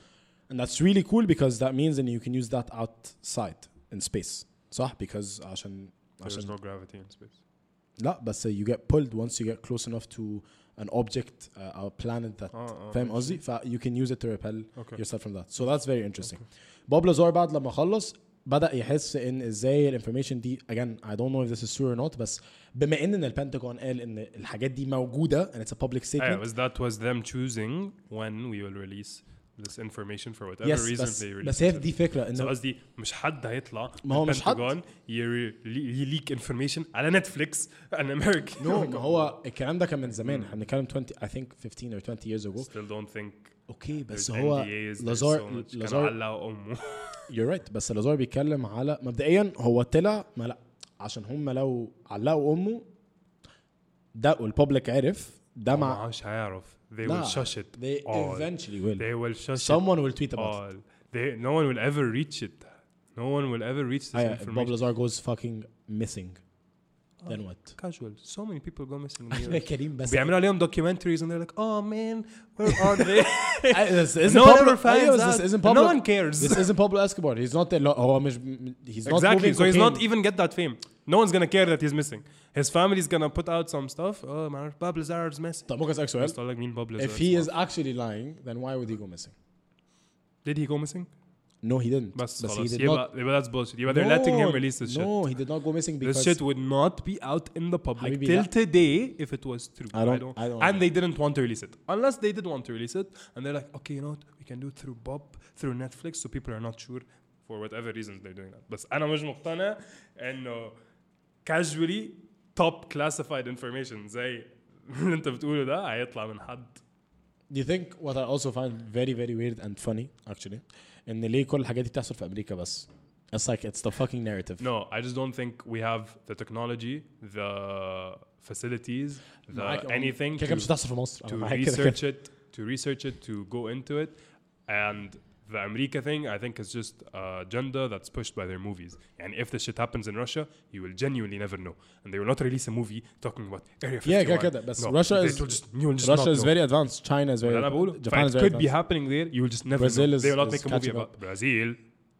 and that's really cool because that means and you can use that outside in space صح because عشان
There is
عشان
no gravity in space.
لا بس you get pulled once you get close enough to an object uh, or planet that
اه اه
فاهم قصدي ف you can use it to repel
Ah, Okay.
yourself from that so that's very interesting بوب لازار بعد لما خلص بدأ يحس ان ازاي الانفورميشن دي again I don't know if this is true or not بس بما ان البنتاجون قال ان الحاجات دي موجوده and it's a public
Yeah,
statement
was that was them choosing when we will release this information for whatever
yes
reason
بس
they
بس
release
هي
it.
في دي فكره
So
ان
قصدي مش حد هيطلع
ما هو مش حد.
يليك انفورميشن على نتفليكس ان امريكان
نو ما هو الكلام ده كان من زمان احنا بنتكلم 20 I think 15 or 20 years ago
*laughs* still don't think
اوكي بس
there's
هو
NDAs, there's so
لازار
much. كانوا
لازار
علقوا امه
يور رايت بس لازار بيتكلم على مبدئيا هو طلع ما لا عشان هم لو علقوا امه ده والبابليك عرف ده
*laughs* ما
مع
عادش هيعرف Oh, they
لا
will shush it
they
all
eventually will
they will shush
someone will tweet
it
about it
all they, no one will ever reach it no one will ever reach this
أيوة، باب
information Oh.
لازار goes fucking missing then what
casual so many people go missing in the
احنا *laughs*
US.
كريم بس
بيعملوا عليهم documentaries and they're like oh man where are they
I- this *laughs* isn't
*laughs* no one
Pablo-
ever finds
أيوة، this
out
isn't
no
Pablo-
one cares *laughs*
this isn't Pablo Escobar he's not oh, لا، هو مش he's not
exactly.
moving
So he's not
cocaine.
even get that fame. No one's gonna care that he's missing. His family's gonna put out some stuff. Oh, man, Bob Lazar's missing.
طب ممكن اسالك سؤال
Just like mean Bob Lazar.
if he is actually lying then why would he go missing
did he go missing?
no he didn't
But
بس he did
yeah,
not
but, yeah, but that's bullshit. Yeah, but they're letting him release this shit.
No, he did not go missing because
This shit would not be out in the public
Habibi,
till
that-
today if it was true.
I don't- I don't
and
know.
they didn't want to release it. Unless they did want to release it, and they're like, okay, you know what? We can do it through Bob, through Netflix, so people are not sure for whatever reasons they're doing that. But أنا مش مقتنع إنه uh, casually top classified information *laughs* زي اللي أنت بتقوله ده هيطلع من حد.
Do you think what I also find very very weird and funny actually ان ليه كل الحاجات دي بتحصل في امريكا بس It's like it's the fucking narrative.
No, I just don't think we have the technology, the facilities, the
معاك-
anything
كده كده مش هتحصل في مصر.
to
أنا معاك *laughs* كده كده.
research it, to research it, to go into it, and the America thing, I think, is just a agenda that's pushed by their movies. And if this shit happens in Russia, you will genuinely never know, and they will not release a movie talking about Area 51.
Yeah, كده كده. بس Russia
they
is-
will just, you will just
Russia
not
is
know.
very advanced. China is very uh,
اللي أنا بقوله.
Japan is
فit
very
could be
advanced.
happening there. You will just never
Brazil
know.
is-
they will not
is
make a movie
catching
about Brazil.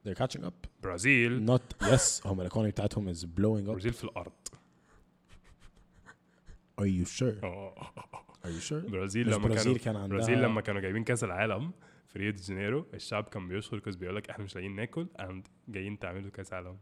They're catching up.
Brazil.
Not yes هم الايكونومي بتاعتهم is blowing up.
Brazil في الأرض.
Are you sure?
آه. Oh.
Are you sure?
برازيل
مش
لما
برازيل
كانوا
كان عندها-
برازيل لما كانوا جايبين كاس العالم في ريو دي جانيرو الشعب كان بيشخر كوز بيقول لك احنا مش لاقيين ناكل and جايين تعملوا كاس عالم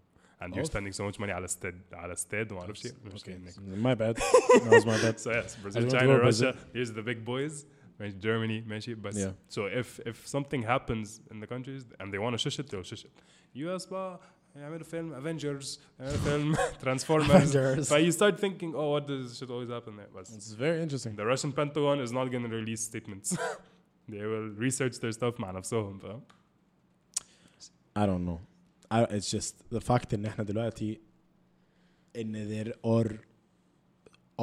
and you're
Off.
spending so much money على استاد على استاد وما اعرفش ايه مش لاقيين ناكل
My
*laughs*
bad. That was my bad.
so yes
I
Brazil
don't
China
know Brazil.
Russia here's the big boys ماشي Germany ماشي بس
Yeah.
so if if something happens in the countries and they want to shush it they'll shush it US بقى يعملوا فيلم افنجرز يعملوا *laughs* فيلم ترانسفورمرز
Avengers.
so you start thinking oh what does this shit always happen there بس
It's very interesting.
The Russian Pentagon is not going to release statements. *laughs* they will research their stuff مع نفسهم فاهم؟
I don't know. I, it's just the fact ان احنا دلوقتي ان there are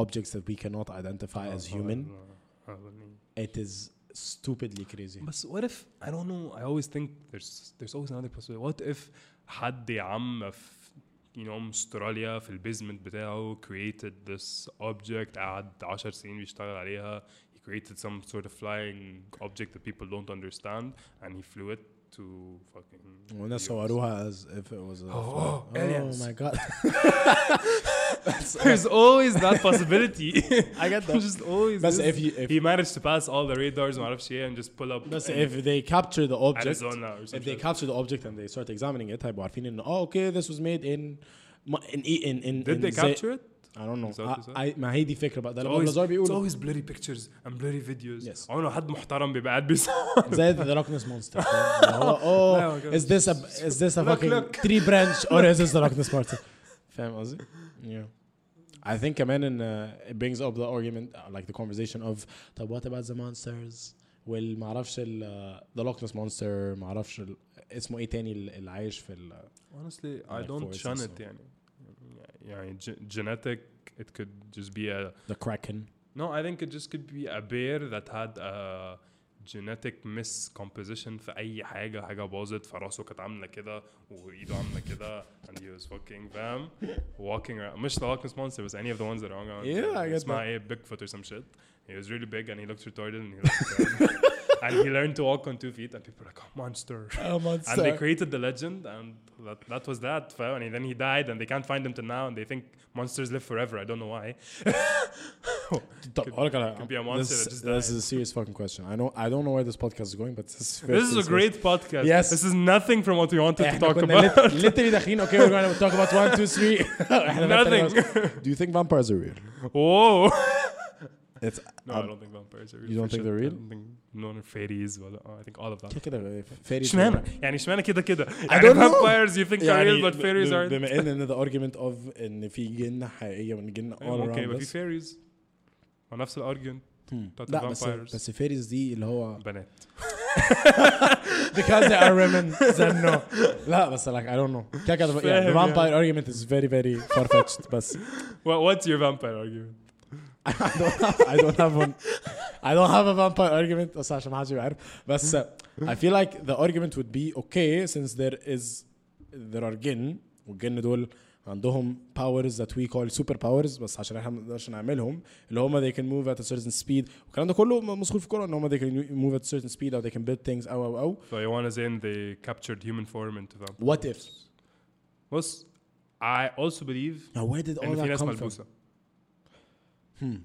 objects that we cannot identify Uh, as
Oh,
human.
Uh,
It is stupidly crazy.
بس what if I don't know I always think there's there's always another possibility what if حد يا عم في you know استراليا في البيزمنت بتاعه created this object قعد 10 سنين بيشتغل عليها he created some sort of flying object that people don't understand and he flew it to fucking
والناس صوروها as if it was a
Oh,
fly.
aliens.
oh my
*laughs*
god
There's always that possibility. *laughs*
I *laughs* get that
just always.
بس
this-
if you if
he managed to pass all the radars and عرفش ايه and just pull up
بس
in
if they capture the object
Arizona or
if they
something.
capture the object and they start examining it هيبقوا عارفين ان اه اوكي oh, this was made in م- in in in
Did
in
they
زي-
capture it?
I don't know
Is that- is that-
I- I- ما هي دي فكرة بقى ده اللي
It's always-
بلازار
it's
بيقوله
always blurry pictures and blurry videos.
Yes.
عمره حد محترم بيبقى قاعد بيصور.
زي ذا روكنس مونستر اوه
لا، ما
is this a is this a
Look,
fucking
look.
tree branch or is this the روكنس مونستر فاهم قصدي؟ Yeah. I think كمان ان uh, it brings up the argument uh, like the conversation of طب what about the monsters والمعرفش ال uh, the Loch Ness monster معرفش ال- اسمه ايه تاني ال- اللي عايش في ال
*laughs* Honestly, I
Like
don't
forces
shun
and
it. يعني. يعني ge- genetic, it could just be a.
the Kraken
No, I think it just could be a bear that had a genetic miscomposition في أي حاجة حاجة باظت فراسه كانت عاملة كده وإيده عاملة كده and he was fucking فاهم walking around مش the Loch Ness monster بس any of the ones that are around
Yeah, I get
اسمها إيه Bigfoot or some shit he was really big and he looked retarded and he looked *laughs* and he learned to walk on two feet and people are like oh monster and they created the legend, and that, that was that. fam. And then he died, and they can't find him till now, and they think monsters live forever. I don't know why.
طب هقولك على
could be a monster
this,
that just
this
died.
is a serious fucking question I know I don't know where this podcast is going but this is very
This is
serious.
a great podcast.
Yes.
This is nothing from what we wanted to
احنا
talk
كنا
about. *laughs*
lit- literally داخلين اوكي we're gonna talk about 1 2 *laughs* 3 احنا
Nothing.
داخلين- Do you think vampires are real?
Whoa.
It's
No, I
um,
don't think vampires are real.
you don't
for
think
shit.
they're real?
I don't think no no, fairies. Well, uh, I think all of that.
كده كده fairy
اشمعنى؟ يعني اشمعنى كده كده؟ يعني
don't know.
vampires you think are real but fairies
ب-
aren't.
بما ان ان ذا argument of ان في جن حقيقيه وان جن all
اوكي
around
يبقى في
us Hmm.
fairies. ما نفس الارجيومنت
هم.
بتاعت
لا بس
الvampires.
بس fairies دي اللي هو
بنات.
because they are women then no لا بس like I don't know كده كده yeah, the
فاهم يعني.
vampire argument is very very far fetched بس
What- What's your vampire argument?
I don't have I don't have one I don't have a vampire argument er بس عشان ما حدش يبقى عارف بس uh, I feel like the argument would be okay since there is there are جن والجن دول عندهم powers that we call super powers بس عشان احنا ما نقدرش نعملهم اللي هم they can move at a certain speed والكلام ده كله مسخور في الكوره ان هم they can move at a certain speed or they can build things او او او
So you want to say in they captured human form into them?
what if
بص I also believe
now where did all
إن في
that
ناس
come from
ملبوسة. Hmm.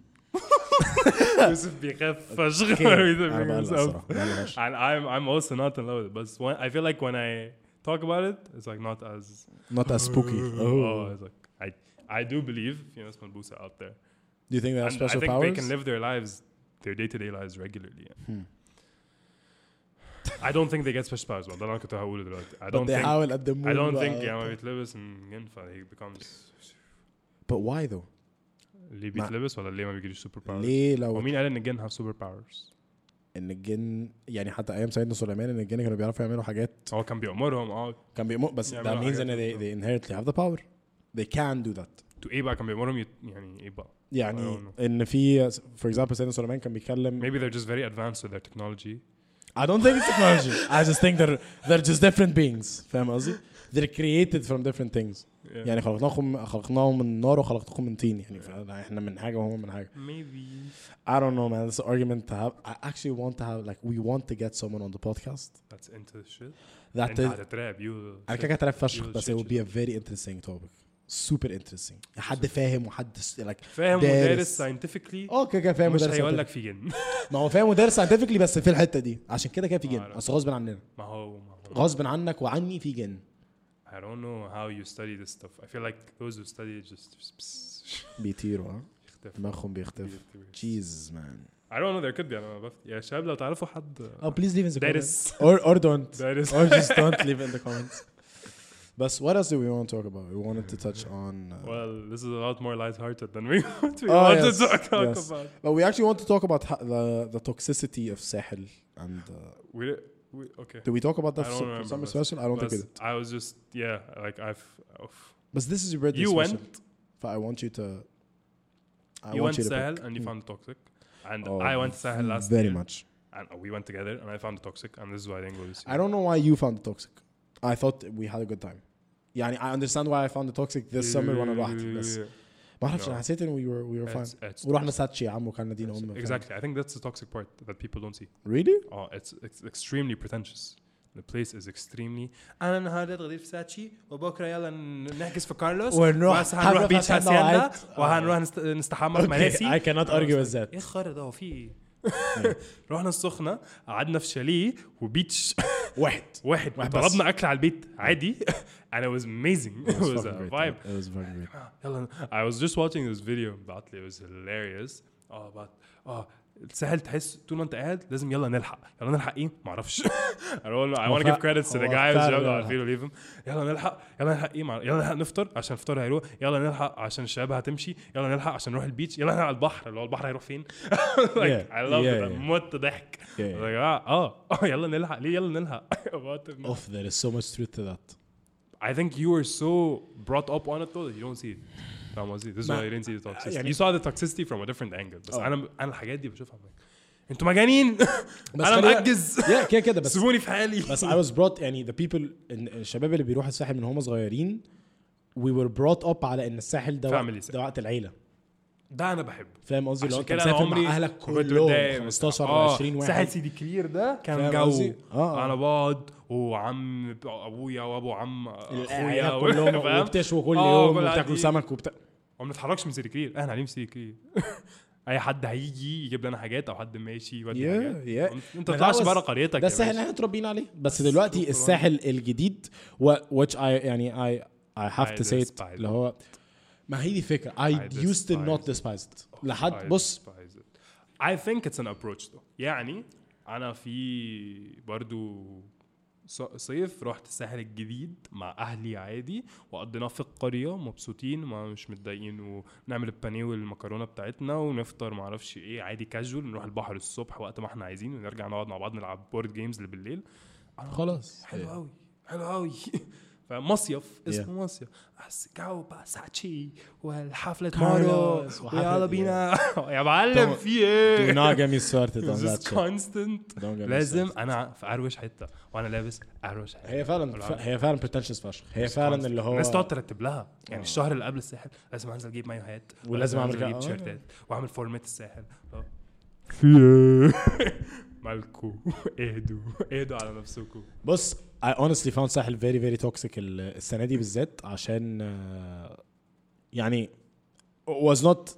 *laughs* يوسف بيخاف فشخ
Hmm. Okay.
*laughs*
أنا بقلق الصراحة، بقلق فشخ.
and I'm I'm also not in love with it but when, I feel like when I talk about it it's like not as
not as spooky
*laughs* oh
oh
it's like I I do believe في ناس ملبوسة out there
do you think they have
and I
special
think they can
powers Hmm.
live their lives their day to day lives regularly I don't think they get special powers والله ده اللي انا كنت هقوله دلوقتي I
but
don't
they
think
howl at the moon uh,
I don't
بقى.
think يعني ما بيتلبس من جن فهي becomes
but why though
اللي
ما-
بيتلبس ولا اللي ما بيجيليش سوبر باورز
ليه لو
ومين قال ان الجن هاف سوبر باورز
ان الجن يعني حتى ايام سيدنا سليمان ان الجن كانوا بيعرفوا يعملوا حاجات
هو كان بيأمرهم اه
كان بيمو بس that
يعملوا
means ان
حاجات.
they, they inherently have the power they can do that
تو ايه بقى كان بيأمرهم يت- يعني ايه بقى
يعني
I don't
ان في for example سيدنا سليمان كان بيتكلم
maybe they're just very advanced with their technology
I don't think it's technology I just think they're they're just different beings فاهم قصدي they're created from different things
Yeah.
يعني خلقناهم خلقناهم من نار وخلقتكم من طين يعني فاحنا من حاجه وهم من حاجه
maybe
I don't know man this argument to have I actually want to have like we want to get someone on the podcast
that's into the shit ah,
that
انت
is
هتترعب يو
انا كده كده فشخ
You'll
بس it
shit
would be a very interesting topic super interesting حد فاهم وحد س- like
فاهم
دارس.
ودارس scientifically
اه كده كده فاهم
مش
مدرس
هيقول
scientific.
لك في *laughs* جن
ما هو فاهم مدرس ساينتفكلي بس في الحته دي عشان كده كده في جن
عارف.
اصل غصب عننا
ما هو ما هو
غصب عنك وعني في جن Oh.
I don't know how you study this stuff I feel like those who study it just *laughs*
بيطيروا اه
يختفوا
دماغهم بيختفوا جيز مان
I don't know there could be انا ما بفت... يا شباب لو تعرفوا حد *laughs*
اه بليز ليف ان ذا
دارس.
كومنتس اور اور دونت
دارس
or just don't leave in the *laughs* comments بس what else do we want to talk about we wanted to touch on uh,
Well, this is a lot more lighthearted than we *laughs* what we
Oh,
want
yes,
to talk, talk
yes.
about.
but we actually want to talk about ho- the, the toxicity of Sahel and uh,
We, we okay.
Did we talk about that
I don't
for
remember,
summer
but-
special? I don't think we
Plus,
did.
I was just yeah, like I've oof.
But this is your birthday
you
special.
went
But I want you to. I
you
want
went
you to
Sahel
pick.
and you
Mm.
found toxic, and
Oh,
I went Sahel last
Very
year,
much.
and we went together, and I found toxic, and this is why I didn't go this year.
I don't know why you found it toxic. I thought we had a good time. يعني I understand why I found it toxic this summer وانا لوحدي بس ما اعرفش
No.
انا حسيت ان we were we were
It's-
fine.
it's
ورحنا ساتشي يا عم وكان دين
toxic.
امه
exactly. I think that's the toxic part that people don't see.
Really?
Oh, it's, it's extremely pretentious. The place is extremely انا النهارده اتغديت في ساتشي وبكره يلا ن- نحجز في كارلوس
ونروح-
بس هنروح
هنروح
بيتش
أصلاً
هاسياندا
نوعات.
وهنروح نست... نستحمى في مراسي
I cannot argue with
ايه
that.
الخرا ده هو في ايه؟ رحنا السخنه قعدنا في شاليه وبيتش
واحد.
*laughs* واحد
واحد بس.
طلبنا اكل على البيت عادي *laughs* and it was amazing it
It was
was
fucking
a
great.
vibe
It was fucking great.
يلا I was just watching this video about it was hilarious اه about اه سهل تحس طول ما انت قاعد لازم يلا نلحق يلا نلحق ايه ما اعرفش I don't know I
هو
want to give
فع-
credits to the
هو
guy who's
فعلا
job on
يلا.
video leave him يلا نلحق يلا نلحق ايه مع... يلا نلحق نفطر عشان الفطار هيروح يلا نلحق عشان الشباب هتمشي يلا نلحق عشان نروح البيتش يلا نلحق على البحر اللي هو البحر هيروح فين *laughs* like
Yeah.
I love
Yeah,
it
yeah.
مت ضحك
Yeah,
يا
yeah.
جماعه اه اه *laughs* يلا نلحق ليه يلا نلحق *laughs* What the-
Oof, there is so much truth to that.
I think you were so brought up on it though that you don't see it. فاهم قصدي؟ This is why
ما-
you didn't see the toxicity.
يعني-
you saw the toxicity from a different angle بس
آه.
انا انا الحاجات دي بشوفها I'm like انتوا مجانين *laughs*
بس
انا
خلينا-
مأجز
Yeah, كده كده بس
سيبوني في حالي *laughs*
بس I was brought يعني the people إن- الشباب اللي بيروحوا الساحل من هم صغيرين we were brought up على ان الساحل ده
Family
وقت
ساحل.
ده وقت العيله
ده انا بحبه
فاهم قصدي لو
عشان
انت
كده انا
مسافر
عمري
مع اهلك
ما كنت
كلهم
متضايق.
15 و
آه،
20
ساحل
واحد
سيدي كلير ده كان
فاهم
جو
قصدي؟ آه.
انا بقعد وعم ابويا وابو عم اخويا
العيله
*laughs* و-
كلهم
آه، فاهم؟
وبتشوي كل
آه،
يوم
كل
وبتاكلوا
قاعدين.
سمك وبتاع
وما بنتحركش من سيدي كلير احنا قاعدين في سيدي *laughs* كلير اي حد هيجي يجيب لنا حاجات او حد ماشي يودي
Yeah,
حاجات
yeah.
انت ما تطلعش بره قريتك
ده
يا
الساحل اللي
باشا.
احنا اتربينا عليه بس دلوقتي الساحل الجديد و which I يعني I I have
I
to say it
despise
اللي هو ما هي دي فكرة I
I
used to not despise it لحد بص
despise it. طيب، I think it's an approach though. يعني انا في برضو ص- صيف رحت الساحل الجديد مع اهلي عادي وقضيناه في القريه مبسوطين ما مش متضايقين ونعمل البانيه والمكرونه بتاعتنا ونفطر ما اعرفش ايه عادي كاجوال نروح البحر الصبح وقت ما احنا عايزين ونرجع نقعد مع بعض نلعب بورد جيمز بالليل
خلاص
حلو قوي حلو قوي *laughs* فمصيف اسمه مصيف بس جو بقى ساتشي والحفلة مارو
كارلوس وحفلة-
ويلا
*laughs*
بينا يا معلم
Don't-
في
Do
ايه؟ *laughs*
not get me started on
This
that
is
shit.
constant
Don't get me
لازم
started.
انا في اروش حته وانا لابس اروش حته
هي فعلا ف- هي فعلا بوتنشس فشخ هي فعلا اللي هو آه.
الناس تقعد ترتب لها يعني الشهر اللي قبل الساحل لازم انزل اجيب مايوهات
ولازم أعمل
أنزل
كده.
اجيب
آه.
تيشيرتات واعمل فورمات الساحل في ايه؟ *laughs* مالكو اهدوا اهدوا على نفسكم
بص I honestly found ساحل very very toxic ال- السنة دي بالذات عشان آه، يعني it was not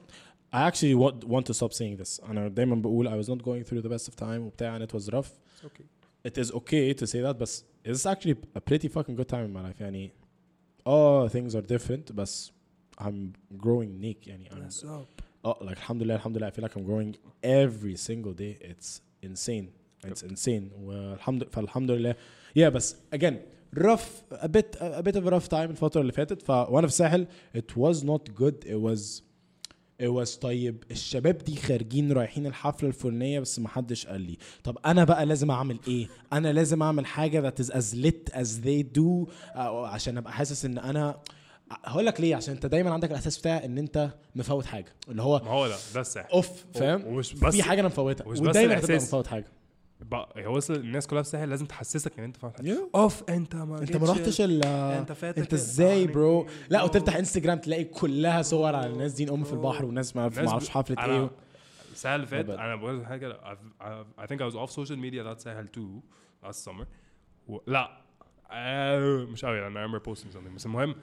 I actually want, want to stop saying this أنا دايما بقول I was not going through the best of time وبتاع and it was rough
اوكي
it is okay to say that بس it's actually a pretty fucking good time in my life يعني اه things are different بس I'm growing Nick يعني I'm, اه Oh, like الحمد لله الحمد لله I feel like I'm growing every single day it's insane it's insane والحمد فالحمد لله yeah بس again rough a bit a bit of a rough time الفترة اللي فاتت ف وانا في الساحل it was not good it was it was طيب الشباب دي خارجين رايحين الحفلة الفلانية بس محدش قال لي طب انا بقى لازم اعمل ايه انا لازم اعمل حاجة that is as lit as they do آه، عشان ابقى حاسس ان انا هقول لك ليه عشان انت دايما عندك الاحساس بتاع ان انت مفوت حاجه اللي هو
ما هو لا ده الساحل
اوف فاهم
ومش بس
في حاجه انا مفوتها
ومش بس
ودايما هتبقى
الإحساس.
مفوت حاجه
بقى هو وصل الناس كلها في الساحل لازم تحسسك ان انت فاهم حاجة.
Yeah.
اوف انت ما
انت ما
جيتش.
رحتش ال انت
انت فاتك
انت
ال-
ازاي
يعني-
برو لا
أوه.
وتفتح انستجرام تلاقي كلها صور على الناس دي ام في البحر والناس ما ما
الناس
اعرفش
ب-
حفله
أنا
ايه
الساحل اللي فات
My bad.
انا بقول لك حاجه I've- I've- I think I was off social media that ساحل too last summer و... لا آه، مش قوي لان I remember posting something بس المهم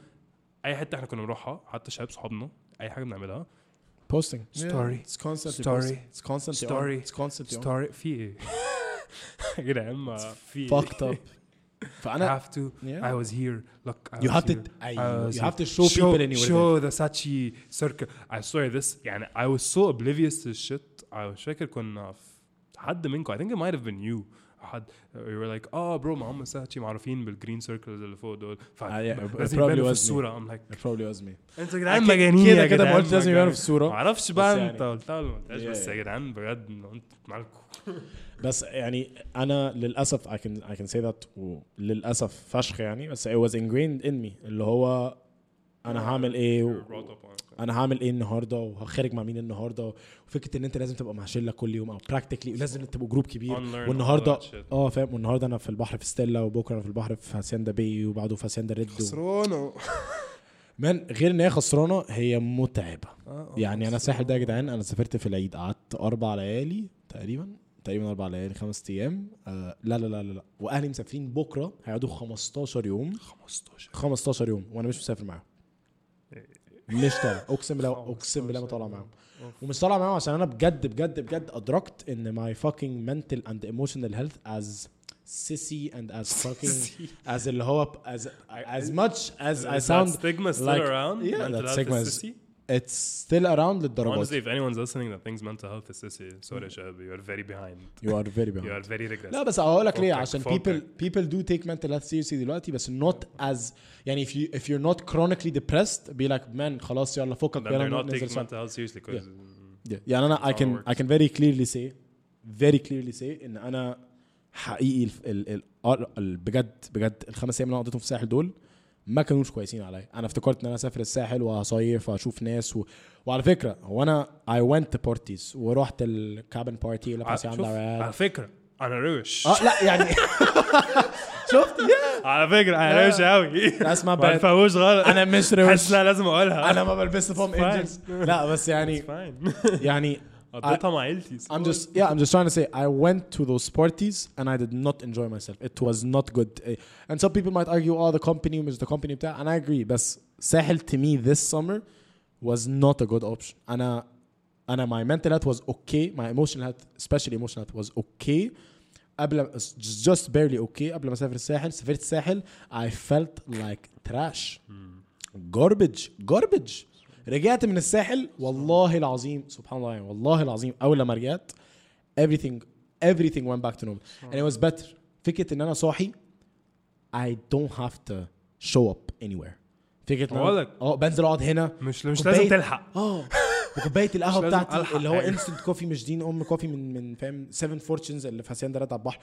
اي حته احنا كنا بنروحها حتى شباب صحابنا اي حاجه بنعملها
بوستنج
Story.
اتس كونستنتلي
Story.
اتس كونستنتلي
Story.
اتس كونستنتلي
ستوري في ايه *laughs* يا جدعان ما في ايه
fucked
*laughs*
up فانا
have to.
Yeah.
I was here. Look, I
You
was
have to- I-
here. I was
you
here.
have to show people in your
Uh, Show the Sachi circle. I swear this. يعني I was so oblivious to shit. I was فاكر كنا في حد منكم. I think it might have been you. حد you were like اه bro ما هم Sachi معروفين بالجرين سيركلز اللي فوق دول. ف-
Ah, yeah, it
لازم
probably
يبانوا في
was me.
الصورة. I'm like
it probably was me
انتوا يا جدعان
أكيد-
مجانين
كده
يا
كده ما
جدعان
قلتش لازم
مجانين.
يبانوا في الصورة.
ما اعرفش
بس
بقى
يعني-
انت قلتها ولا ما قلتهاش
Yeah,
بس يا
yeah.
جدعان بجد انتوا مالكم
بس يعني انا للاسف I can I can say that للاسف فشخ يعني بس it was ingrained in me اللي هو انا هعمل ايه و-
Brought up on it.
انا هعمل ايه النهارده وهخرج مع مين النهارده وفكره ان انت لازم تبقى مع شله كل يوم او براكتيكلي لازم تبقوا جروب كبير
Unlearn all
والنهارده
that shit.
اه فاهم والنهارده انا في البحر في ستيلا وبكره انا في البحر في هاسياندا باي وبعده في هاسياندا ريد و-
خسرانه
مان غير ان هي خسرانه هي متعبه يعني انا الساحل ده يا جدعان انا سافرت في العيد قعدت اربع ليالي تقريبا تقريبا اربع ليالي خمس ايام آه لا لا لا لا لا واهلي مسافرين بكره هيقعدوا 15 يوم
15
15 يوم وانا مش مسافر معاهم مش طالع اقسم بالله اقسم بالله ما طالع معاهم ومش طالع معاهم عشان انا بجد بجد بجد ادركت ان ماي fucking mental and emotional health as sissy and as
*laughs*
fucking as اللي هو as as much as I sound
stigma still
like-
around.
Yeah,
mental
that
health
stigma
is
is-
sissy?
it's still around للدرجات
Honestly, if anyone's listening that thinks mental health is sissy, sorry, Shab, you are very behind.
you are very behind
You are very regressive.
لا بس هقول لك ليه
فكك-
عشان
فكك.
people people do take mental health seriously دلوقتي بس not as يعني if you if you're not chronically depressed be like man خلاص يلا فكك
Then they're
يلا
not
ننزل
taking
سوا.
mental health seriously Mm. because
Yeah. يعني انا I
That's how it
can I
works.
can very clearly say very clearly say ان انا حقيقي الف- ال ال ال- ال بجد بجد الخمس ايام اللي انا قضيتهم في الساحل دول ما كانوش كويسين عليا انا افتكرت ان انا اسافر الساحل وهصيف واشوف ناس و... وعلى فكره هو انا I went to parties ورحت الكابن بارتي اللي بتاع
آه، شوف
عند
على فكرة أنا روش
اه لا يعني *laughs* شفت يا
على فكرة أنا روش أوي
Ah.
*laughs*
That's my
ما
bad.
تفهموش غلط
انا
*laughs*
مش روش
حاسس إن أنا لازم أقولها
انا ما بلبس فوم انجلز لا بس يعني
It's fine. *laughs*
يعني
قضيتها مع عيلتي
I'm just yeah I'm just trying to say I went to those parties and I did not enjoy myself it was not good Eh, and some people might argue oh the company was the company بتاع and I agree بس ساحل to me this summer was not a good option انا انا uh, my mental health was okay my emotional health especially emotional health was okay قبل ما- just barely okay قبل ما اسافر الساحل سافرت الساحل I felt like trash garbage garbage رجعت من الساحل والله العظيم سبحان الله يعني والله العظيم اول لما رجعت everything everything went back to normal and it was better فكره ان انا صاحي I don't have to show up anywhere فكره إن أنا-
ولد.
اه بنزل اقعد هنا
مش مش
كوباية-
لازم تلحق
اه وكوبايه القهوه
آه. مش لازم
بتاعتي
ألحق
اللي هو
حاجة.
انستنت كوفي مش دين ام كوفي من من فاهم 7 فورتشنز اللي في هاسيندا رد على البحر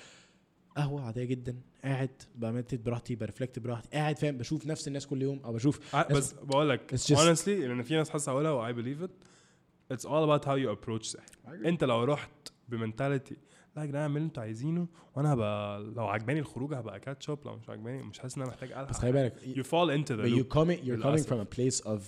قهوه عاديه جدا قاعد بمدد براحتي برفلكت براحتي قاعد فاهم بشوف نفس الناس كل يوم او بشوف
I- آه، بس بقول لك
it's just-
honestly لان في ناس حاسه هقولها و I believe it it's all about how you approach سحر انت لو رحت بمنتاليتي لا يا جدعان اعملوا اللي انتوا عايزينه وانا هبقى لو عجباني الخروج هبقى كاتش اب لو مش عجباني مش حاسس ان انا محتاج الحق
بس خلي بالك
you fall into the
but you
loop
coming you're coming
للأسف.
from a place of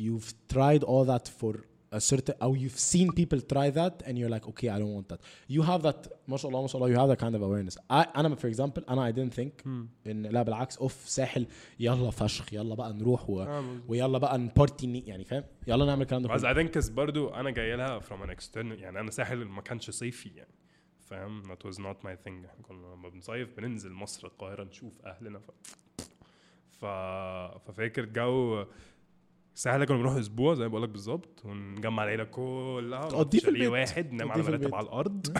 you've tried all that for a certain or you've seen people try that and you're like okay I don't want that you have that ما شاء الله ما شاء الله you have that kind of awareness I انا for example انا I didn't think
Hmm.
ان لا بالعكس اوف ساحل يلا فشخ يلا بقى نروح و...
آه، بالظبط.
ويلا بقى نبارتي ني- يعني فاهم يلا نعمل الكلام ده
بس
كله
I think is برضو انا جاي لها from an external يعني انا ساحل ما كانش صيفي يعني فاهم that was not my thing احنا كنا لما بنصيف بننزل مصر القاهره نشوف اهلنا ف... ف... ففاكر جو سهل كنا بنروح اسبوع زي ما بقول لك بالظبط ونجمع العيله كلها
تقضيه في
شاليه
البيت.
واحد نام
تقضيه
على
في
مرتب
البيت.
على الارض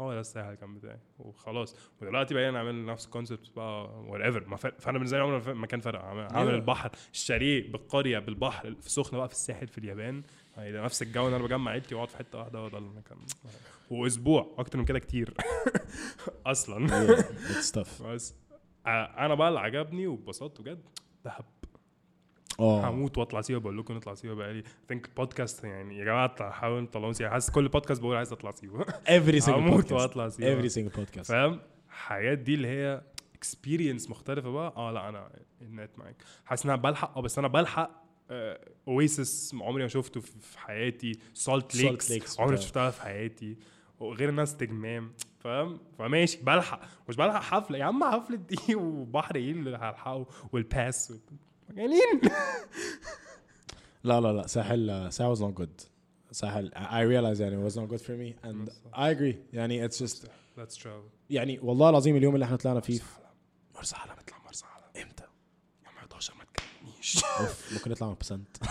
هو ده الساحل كان بتاعي وخلاص ودلوقتي بقينا نعمل نفس الكونسبت بقى وات ايفر فانا بالنسبه لي عمره ما فرق- ما كان فرق عامل عامل
Yeah.
البحر الشاليه بالقريه بالبحر في سخنه بقى في الساحل في اليابان يعني ده نفس الجو ان انا بجمع عيلتي واقعد في حته واحده هو ده اللي انا كان *laughs* واسبوع اكتر من كده كتير *laughs* اصلا
Yeah, it's tough
*laughs* بس ع- انا بقى اللي عجبني واتبسطت بجد دهب
اه
هموت واطلع سيوه بقول لكم نطلع سيوه بقى لي ثينك البودكاست يعني يا جماعه طلع- حاولوا تطلعوني سيوه حاسس كل بودكاست بقول عايز اطلع سيوه
every single
هموت
podcast
واطلع سيوه
every single podcast
فاهم الحاجات دي اللي هي اكسبيرينس مختلفه بقى اه لا انا النت معاك حاسس ان انا بلحق اه بس انا بلحق اويسس عمري ما شفته في في حياتي سولت
Salt Lakes
ليكس عمري ما
بتاع-
شفتها في حياتي وغير انها استجمام فاهم فماشي بلحق مش بلحق حفله يا عم حفله دي *laughs* وبحر ايه اللي هلحقه والباس مجانين
لا لا لا ساحل uh, ساحل was not good ساحل I I realized يعني it was not good for me and I agree يعني it's just
Let's travel
يعني والله العظيم اليوم اللي احنا طلعنا فيه
مرسى علم نطلع مرسى علم
امتى؟
يوم 11 ما تكلمنيش
اوف ممكن نطلع من بسنت
*laughs*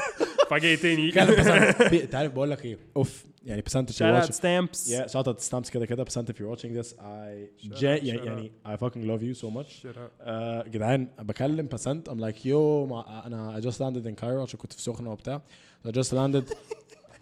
*laughs*
فاجئتني
كان بسنت في- انت عارف بقول لك ايه اوف يعني بسنت if
شارع
you watch
ستامبس
yeah shout out to stamps كده كده بسنت if you're watching this I
Shout
gen-
out,
يعني,
shout
يعني I fucking love you so much
Shut up.
آه، جدعان بكلم بسنت I'm like yo ما انا I just landed in Cairo عشان كنت في سخنة وبتاع I just
*laughs*
landed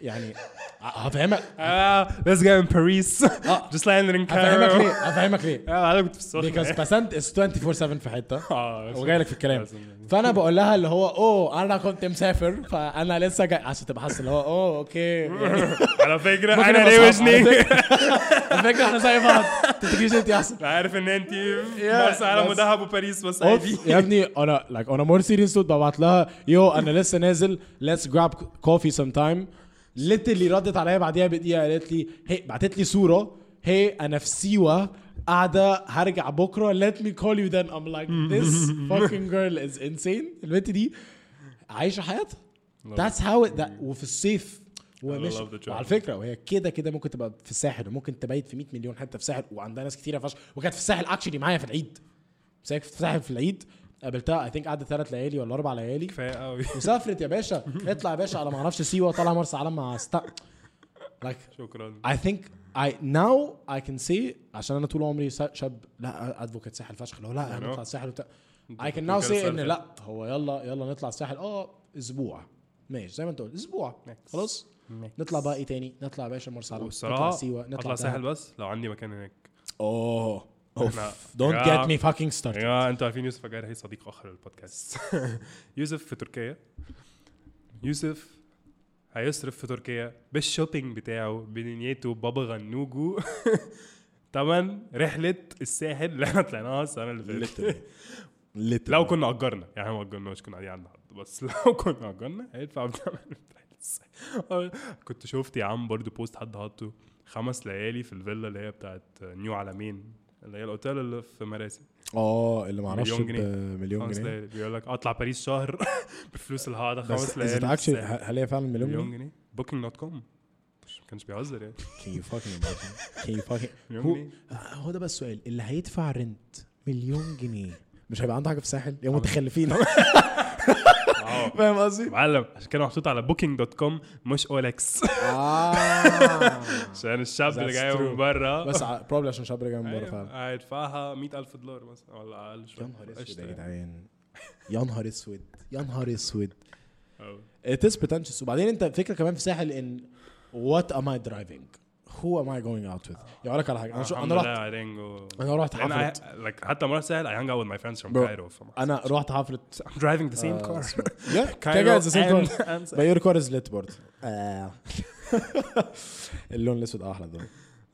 يعني هفهمك
Ah, this guy in Paris
آه.
just landed in
هفهمك ليه
Cairo.
هفهمك ليه
Ah, انا كنت في السخنة.
because بسنت is 24/7 في حته
*laughs* آه،
وجاي لك في الكلام
لازم يعني.
فانا بقول لها اللي هو اوه انا كنت مسافر فانا لسه جاي عشان تبقى حاسس اللي هو اوه اوكي يعني
على فكره
ممكن
انا
أبقى صعب. على *laughs*
*laughs* روشني
فكرة- على فكره احنا زي بعض أنت تجيش انت احسن
عارف ان انت
Yeah,
مرسى علم
بس-
ودهب وباريس بس عادي
أوف، يا ابني انا لايك انا مور سيريس ببعت لها يو انا لسه نازل ليتس جراب كوفي سم تايم ليتلي ردت عليا بعديها بدقيقه قالت لي هي بعتت لي صوره هي انا في سيوه قاعده هرجع بكره let me call you then I'm
*laughs*
like this fucking girl is insane البنت دي عايشه حياتها That's how it that وفي الصيف
I
ومش
love the travel.
وعلى فكره وهي كده كده ممكن تبقى في الساحل وممكن تبيت في 100 مليون حته في الساحل وعندها ناس كتيره فشخ وكانت في الساحل اكشلي معايا في العيد بس هي في الساحل في العيد قابلتها اي ثينك قعدت ثلاث ليالي ولا اربع ليالي
كفايه *laughs* قوي
وسافرت يا باشا اطلع يا باشا على ما اعرفش سيوه طالع مرسى علم مع ستا like
شكرا
I think I now I can say عشان انا طول عمري سا- شاب لا ادفوكيت ساحل فشخ لو لا هنطلع الساحل وبتاع I can now say ان لا هو يلا يلا نطلع الساحل اه اسبوع ماشي زي ما انت قلت اسبوع
Next.
خلاص نطلع بقى ايه تاني نطلع يا باشا مرسى علم نطلع
والصراحه
سيوه نطلع
اطلع ساحل
ساحل
بس لو عندي مكان هناك
اوه
احنا-
اوف don't
يا-
get me fucking started
يا انتوا عارفين يوسف اجار هي صديق اخر للبودكاست *laughs* يوسف في تركيا يوسف هيصرف في تركيا بالشوبينج بتاعه بنيته بابا غنوجو *laughs* تمن رحله الساحل اللي احنا طلعناها السنه اللي فاتت لو كنا اجرنا يعني إحنا ما اجرناش كنا قاعدين عند حد بس *laughs* لو كنا اجرنا هيدفع بتمن *laughs* كنت شفت يا عم برضو بوست حد حاطه خمس ليالي في الفيلا اللي هي بتاعت نيو عالمين اللي هي الاوتيل اللي في مراسي
اه اللي ما اعرفش
مليون جنيه.
مليون
خمس
جنيه
ليالي بيقول لك اطلع باريس شهر *laughs* بفلوس اللي هقعدها خمس
بس
ليالي
is it
في
actually-
الساحل.
هل هي فعلا مليون جنيه؟
مليون جنيه بوكينج دوت كوم ما كانش بيهزر
*laughs*
يعني
Can you
*laughs*
fucking imagine? Can you fucking
مليون
هو
جنيه.
آه، هو ده بقى السؤال اللي هيدفع رنت مليون جنيه مش هيبقى عنده حاجه في الساحل يا متخلفين *laughs*
*laughs* آه.
فاهم قصدي؟
معلم عشان كده محطوط على بوكينج دوت كوم مش اولكس *laughs* آه. عشان الشاب اللي
That's
جاي من
true.
بره
بس بروبلي عشان شاب رجع من بره فعلا
أيوة، هيدفعها 100000 دولار مثلا ولا اقل شويه
يا نهار إيه اسود
قشطة
يا
يعني.
جدعان يا نهار اسود يا نهار اسود
أوي.
It is pretentious وبعدين انت الفكره كمان في ساحل ان what am I driving who am I going out with يعني اقول لك على حاجه انا شو
الحمد
انا
لله
رحت
يا رينجو.
أنا رحت
لأن I-
حفلة.
like حتى مرة سهل I hang out with my friends from
Bro. آه،
Cairo from *laughs*
انا رحت حفله
I'm driving the same car
*laughs* yeah
Cairo
كده it's the
*laughs*
same
and-
car.
and-
But your car is lit برضه *laughs* اللون الاسود احلى ده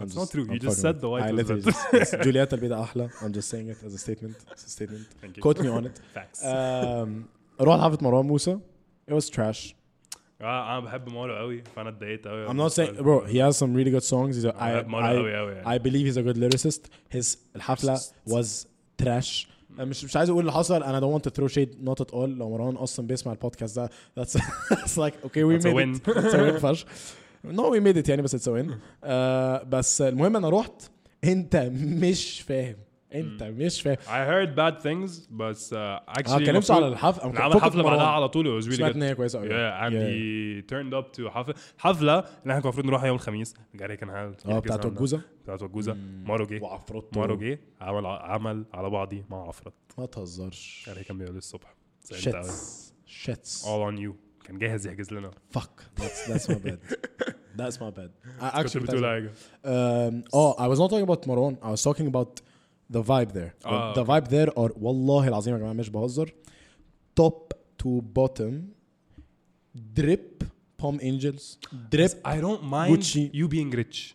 That's
not true. You just said the white
I
was
literally
lit.
just- yes,
*laughs*
جولييتا البيضاء احلى I'm just saying it as a statement as a statement
*laughs* Thank you.
quote me on it
*laughs* Facts.
Um, رحت حفلة مروان موسى it was trash
اه انا بحب مارو قوي فانا اتضايقت قوي
I'm not saying bro he has some really good songs he's a, I,
بحب مارو
I,
قوي قوي يعني
I believe he's a good lyricist his الحفلة was trash أنا مش مش عايز اقول اللي حصل انا don't want to throw shade not at all لو مروان اصلا بيسمع البودكاست ده that's *laughs* it's like okay we
That's a
made
win.
it *laughs* it's a win فشخ نو وي ميد ات يعني بس اتس وين بس المهم انا رحت انت مش فاهم انت مش فاهم
I heard bad things بس uh, actually
انا ما اتكلمتش
المفروض-
على الحفله
أنا عامل حفله بعدها على طول it was really
سمعت
good
ان هي كويسه قوي
yeah and he turned up to حفله حفله اللي احنا كنا المفروض نروحها يوم الخميس جاري كان هل
اه بتاعت الجوزه
بتاعت وجوزه مارو جه
وعفروت
مارو جه عمل عمل على بعضي مع عفرت
ما تهزرش
جاري كان بيقول الصبح زعلت قوي.
شيتس شيتس
all on you كان جاهز يحجز لنا
فك ذاتس ذاتس ما باد ذاتس ما باد
كنت بتقول حاجه
Um, oh, I was not talking about Maron. I was talking about the vibe there.
Ah,
the vibe there are والله العظيم يا جماعة مش بهزر top to bottom drip Palm Angels drip
I don't mind
Gucci.
you being rich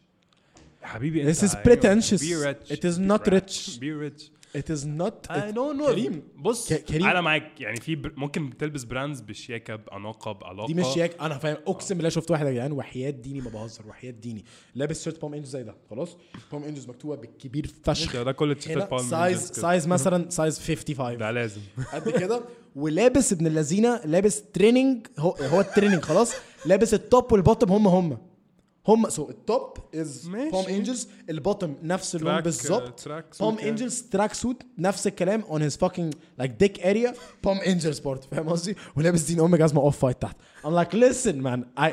حبيبي
This
انت
is
أيوة.
pretentious.
Be rich.
It is
Be
not
rich.
rich.
Be rich.
it is not
I
it-
don't know.
كريم
بص
ك- كريم.
انا معاك يعني في بر... ممكن تلبس براندز بشياكه بعلاقه بعلاقه
دي مش ياك انا فاهم اقسم بالله شفت واحد يا جدعان وحياة ديني ما بهزر وحياة ديني لابس شيرت Palm Angels زي ده خلاص Palm Angels مكتوبة بالكبير فشخ
ده- ده كل التيشيرتات Palm Angels
سايز
كده.
سايز مثلا سايز 55
ده *laughs* لازم
قد كده ولابس ابن اللذينه لابس تريننج هو هو التريننج خلاص لابس التوب والبوتم هم هم هم سو التوب از
ماشي.
بوم انجلز البوتم نفس اللون
Track-
بالظبط
uh, track suit
بوم
يعني.
انجلز تراك سوت نفس الكلام اون هيز فاكينج لايك ديك اريا بوم انجلز برضه فاهم قصدي ولابس دين امي جزمه اوف فايت تحت "Oh, I'm like listen man I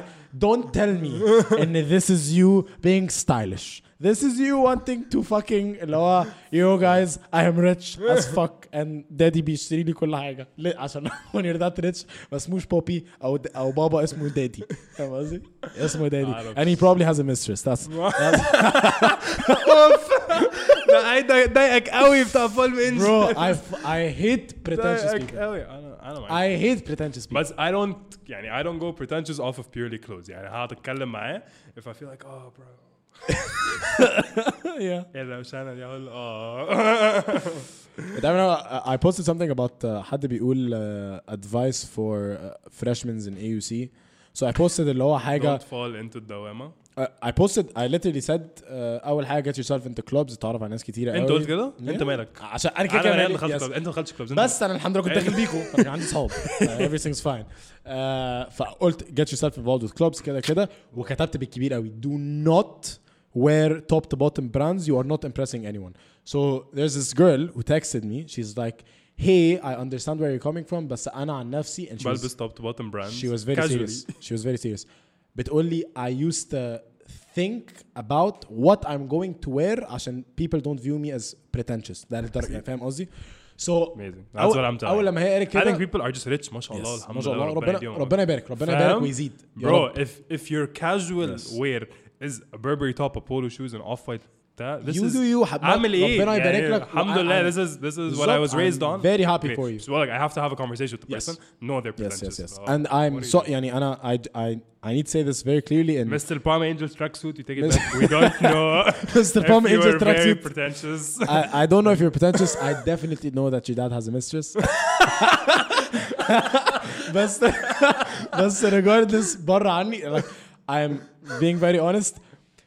don't tell me ان this is you being stylish This is you wanting to fucking اللي هو you guys I am rich as fuck and daddy بيشتري لي كل حاجة ليه؟ عشان *laughs* when you're that rich ما اسموش بوبي أو أو بابا اسمه دادي فاهم قصدي؟ اسمه دادي
أعرف.
and he probably has a mistress that's
ده ده ضايقك قوي *laughs* بتاع بالم انجلز
bro I, f- I hate pretentious
ضايقك
people
قوي انا انا معاك
I hate pretentious people
بس I don't يعني I don't go pretentious off of purely clothes يعني هقعد اتكلم معاه if I feel like oh bro
yeah
ايه ده مش انا دي اقول
*laughs*
اه
بتعمل I posted something about uh, حد بيقول uh, advice for uh, freshmen in AUC سو اي بوستد اللي هو uh, حاجه
don't fall into الدوامه
اي بوستد اي ليترلي سيد اول حاجه uh, get yourself into clubs اتعرف على ناس كتيره قوي
انت قلت كده
Yeah.
انت مالك
عشان انا كده
انا
كده مالي. Yes.
أنا دخلت كلوب انت ما دخلتش كلوب
بس انا الحمد لله كنت داخل بيكو انا عندي صحاب everything's fine آه، فقلت get yourself involved with clubs كده كده وكتبت بالكبير قوي do not wear top to bottom brands you are not impressing anyone so there's this girl who texted me she's like hey I understand where you're coming from بس انا عن نفسي and she was,
بلبس توب تو بوتم براند
she was very serious she was very serious بتقول لي I used to think about what I'm going to wear عشان people don't view me as pretentious ده الدرجة فاهم قصدي so
Amazing. That's
أول-
what I'm telling
اول لما هي قالت
I think
كده
people are just rich ما شاء الله
Yes.
الحمد
ما شاء
لله
الله ربنا
يديهم.
ربنا يبارك ربنا
فاهم؟
يبارك ويزيد يا
bro
رب.
if if your casual wear is a Burberry top a polo shoes and off white that this
You
is
do you. حب-
عامل ايه
ربنا يبارك
يعني
لك.
الحمد
I-
لله
I'm-
this is this is what I was
بالظبط.
raised
I'm
on
very happy for you.
so like I have to have a conversation with the
Yes.
person no they're
yes yes
pretentious
yes
Oh,
and I'm
what are
so
you
يعني انا I I I need to say this very clearly in
doing? Mr. Palm Angels tracksuit you take
*laughs*
it back we don't know *laughs*
Mr.
if
Palm
you
Angels
were very
tracksuit.
pretentious
I, I don't know if you're pretentious I definitely know that your dad has a mistress *laughs* بس بس regardless بره عني like I'm being very honest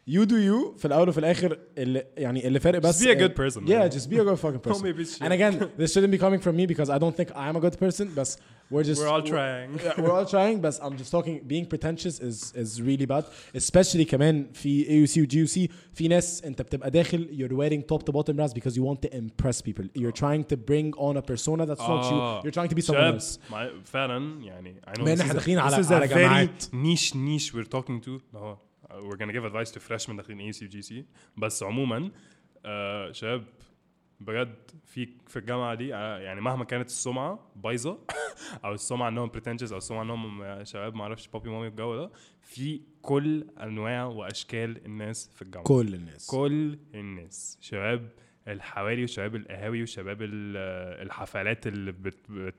you do you في الاول وفي الاخر اللي يعني اللي فارق بس
be a good person,
yeah
man.
just be a good
*laughs*
fucking person
be a bitch,
and
yeah.
again this shouldn't be coming from me because I don't think I am a good person بس we're just
we're all trying
Yeah, we're all trying but I'm just talking being pretentious is is really bad especially كمان في AUC و GUC في ناس انت بتبقى داخل you're wearing top to bottom brands because you want to impress people you're trying to bring on a persona that's not you
آه.
you're trying to be someone
شباب
else
مع- فعلا يعني I know
بما إن
this
إحنا
is a-
داخلين على-
this is a
على
very
جامعات.
niche niche we're talking to اللي هو we're gonna give advice to freshmen داخلين ACGC بس عموما آه شباب بجد في في الجامعه دي آه، يعني مهما كانت السمعه *laughs* بايظه او السمعه انهم pretentious او السمعه انهم آه، شباب ما اعرفش بابي مامي والجو ده في كل انواع واشكال الناس في الجامعه
كل الناس
كل الناس شباب الحواري وشباب القهاوي وشباب ال- الحفلات اللي بت بت-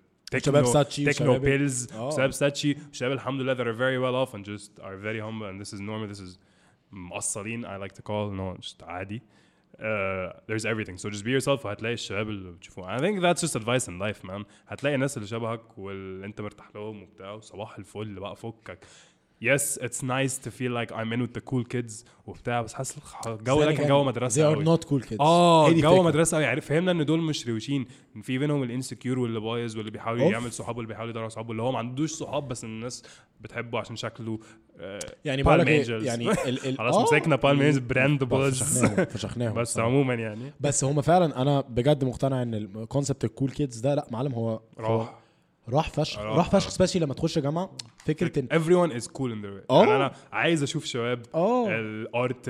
شباب
techno-
ساتشي
techno
وشباب ال-
pills
آه.
شباب ساتشي شباب الحمد لله that are very well off and just are very humble and this is normal this is مقصرين I like to call no just عادي Uh, there's everything so just be yourself وهتلاقي الشباب اللي بتشوفوه I think that's just advice in life man هتلاقي الناس اللي شبهك واللي انت مرتاح لهم وبتاع وصباح الفل بقى فكك Yes, it's nice to feel like I'm in with the cool kids وبتاع بس حاسس الخ- الجو ده كان جو مدرسه
يعني they
أوي.
are not cool kids
اه
هي دي
جو
الفكرة.
مدرسه قوي يعني فهمنا ان دول مش روشين ان في بينهم الانسكيور واللي بايظ واللي بيحاول
أوف.
يعمل صحابه واللي بيحاول يدور على صحابه اللي هو ما عندوش صحاب بس الناس بتحبه عشان شكله آه،
يعني
Palm
بقول لك إيه،
Angels. *laughs*
يعني ال- ال-
خلاص
آه.
مسكنا بالم انجلز براند بولز *laughs*
فشخناهم فشخناهم
بس
صراحة.
عموما يعني
بس هم فعلا انا بجد مقتنع ان الكونسبت الكول كيدز ده لا معلم هو هو
راح
راح فشخ
راح.
راح فشخ سبيشلي لما تخش جامعه فكره ان
everyone is cool in their way
آه.
يعني انا عايز اشوف شباب
آه.
الارت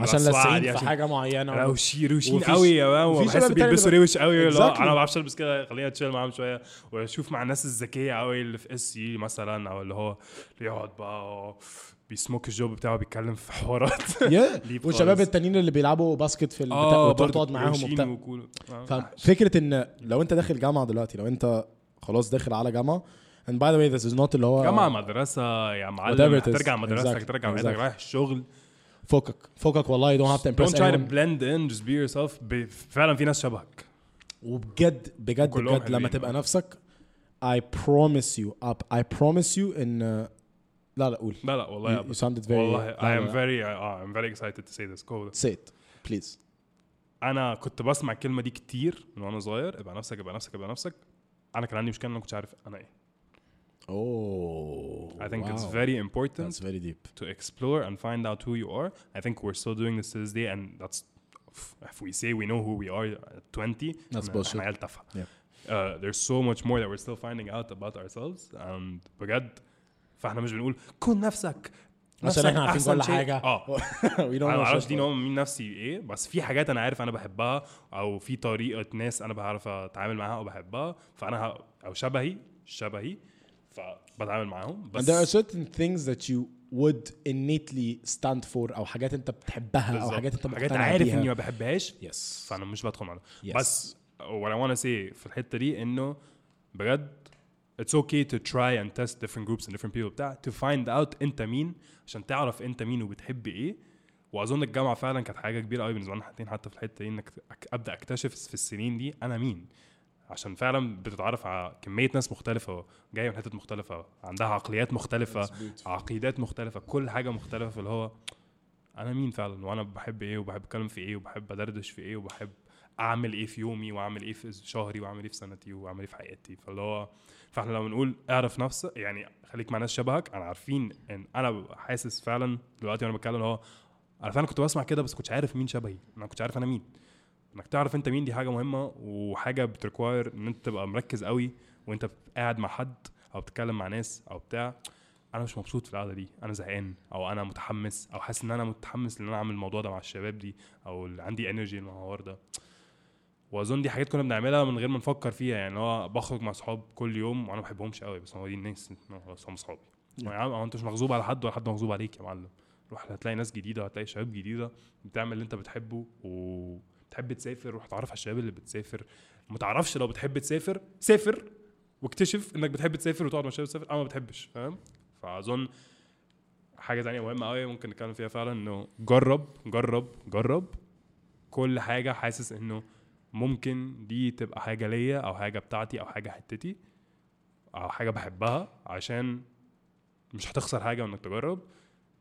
عشان
ملسوعة
لاسعين
دي،
في
يعني عشان
حاجه معينه
*laughs* روشي روشين
وفيش-
قوي يا مان
وفي
وبحس
شباب تاني
بيلبسوا
بيبقى-
روش قوي لا
Exactly.
انا ما بعرفش البس كده خليني اتشيل معاهم شويه واشوف مع الناس الذكيه قوي اللي في اس سي مثلا او اللي هو اللي يقعد بقى بيسموك الجوب بتاعه بيتكلم في حوارات
*laughs*
*laughs*
Yeah.
ليب
والشباب
خالص.
التانيين اللي بيلعبوا باسكت في البتاع
اه
وتقعد
برضه
تقعد معاهم
روشين
وبتاع
وكول. آه.
ففكره ان لو انت داخل جامعه دلوقتي لو انت خلاص داخل على جامعه and by the way this is not اللي هو
جامعه مدرسه يا معلم
آه. Whatever it is.
هترجع مدرستك
Exactly.
ترجع مدرستك
Exactly.
رايح الشغل
فوقك فوقك والله you don't have to impress
don't try to
anyone
blend in just be yourself ب- فعلا في ناس شبهك
وبجد بجد
وكلهم
بجد لما
حلوين.
تبقى نفسك I promise you up I promise you ان لا لا قول
لا لا والله يا
You- you
أبدا.
sounded very-
والله
لا،
I
لا، لا.
am very آه، I'm very excited to say this go
say it please
انا كنت بسمع الكلمه دي كتير من وانا صغير ابقى نفسك ابقى نفسك ابقى نفسك انا كان عندي مشكله إن انا ما كنتش عارف انا ايه
oh
I think it's
wow.
very important
that's very deep
to explore and find out who you are I think we're still doing this to this day and that's if we say we know who we are at 20
That's
إحنا-
bullshit.
إحنا عيال تافهة.
Yeah.
Uh, there's so much more that we're still finding out about ourselves and بجد فاحنا مش بنقول كن نفسك نفسك
عشان احنا عارفين
أحسن
كل
شيء."
حاجه
اه
*laughs* we don't
انا
know
ما اعرفش
shit.
دي نوع من نفسي ايه بس في حاجات انا عارف انا بحبها او في طريقه ناس انا بعرف اتعامل معاها او بحبها فانا ه... او شبهي شبهي فبتعامل معاهم
And there are
بس
certain things that you would innately stand for او حاجات انت بتحبها او
بالظبط.
حاجات انت
حاجات
مقتنع
عارف
بيها.
اني ما بحبهاش
Yes.
فانا مش بدخل معاها
Yes.
بس what I want to say في الحته دي انه بجد it's okay to try and test different groups and different people بتاع to find out انت مين عشان تعرف انت مين وبتحب ايه واظن الجامعه فعلا كانت حاجه كبيره قوي بالنسبه لنا حتى حتى في الحته دي انك أك- ابدا اكتشف في السنين دي انا مين عشان فعلا بتتعرف على كميه ناس مختلفه جايه من حتت مختلفه عندها عقليات مختلفه عقيدات مختلفه كل حاجه مختلفه في اللي هو انا مين فعلا وانا بحب ايه وبحب اتكلم في ايه وبحب ادردش في ايه وبحب اعمل ايه في يومي واعمل ايه في شهري واعمل ايه في سنتي واعمل ايه في حياتي فاللي هو فاحنا لو بنقول اعرف نفسك يعني خليك مع ناس شبهك انا عارفين ان انا حاسس فعلا دلوقتي وانا بتكلم اللي هو انا فعلا كنت بسمع كده بس كنتش عارف مين شبهي انا كنتش عارف انا مين انك تعرف انت مين دي حاجه مهمه وحاجه بتريكواير ان انت تبقى مركز قوي وانت قاعد مع حد او بتتكلم مع ناس او بتاع انا مش مبسوط في القعده دي انا زهقان او انا متحمس او حاسس ان انا متحمس ان انا اعمل الموضوع ده مع الشباب دي او اللي عندي انرجي للحوار ده واظن دي حاجات كنا بنعملها من غير ما نفكر فيها يعني هو بخرج مع صحاب كل يوم وانا ما بحبهمش قوي بس هو دي الناس خلاص هم صحابي يا عم هو انت مش مغصوب على حد ولا حد مغصوب عليك يا معلم روح هتلاقي ناس جديده هتلاقي شباب جديده بتعمل اللي انت بتحبه و بتحب تسافر روح تعرف على الشباب اللي بتسافر ما تعرفش لو بتحب تسافر سافر واكتشف انك بتحب تسافر وتقعد مع شباب تسافر او ما بتحبش فاهم فاظن حاجه ثانيه مهمه قوي ممكن نتكلم فيها فعلا انه جرب جرب جرب كل حاجه حاسس انه ممكن دي تبقى حاجه ليا او حاجه بتاعتي او حاجه حتتي او حاجه بحبها عشان مش هتخسر حاجه انك تجرب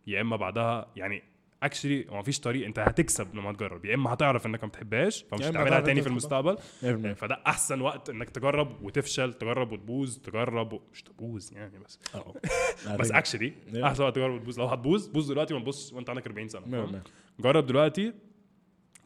يا اما بعدها يعني اكشلي ما فيش طريق انت هتكسب لما تجرب يا اما هتعرف انك ما بتحبهاش فمش
يا إما
هتعملها
هتعرف
تاني
إنك
في
بتحبها.
المستقبل
100%.
يعني فده احسن وقت انك تجرب وتفشل تجرب وتبوظ تجرب و... مش تبوظ يعني
*laughs*
بس
أه.
بس
أعتقد.
اكشلي
Yeah.
احسن وقت تجرب وتبوظ لو هتبوظ بوظ دلوقتي ما تبص وانت عندك 40 سنه
مية
فاهم؟
مية.
جرب دلوقتي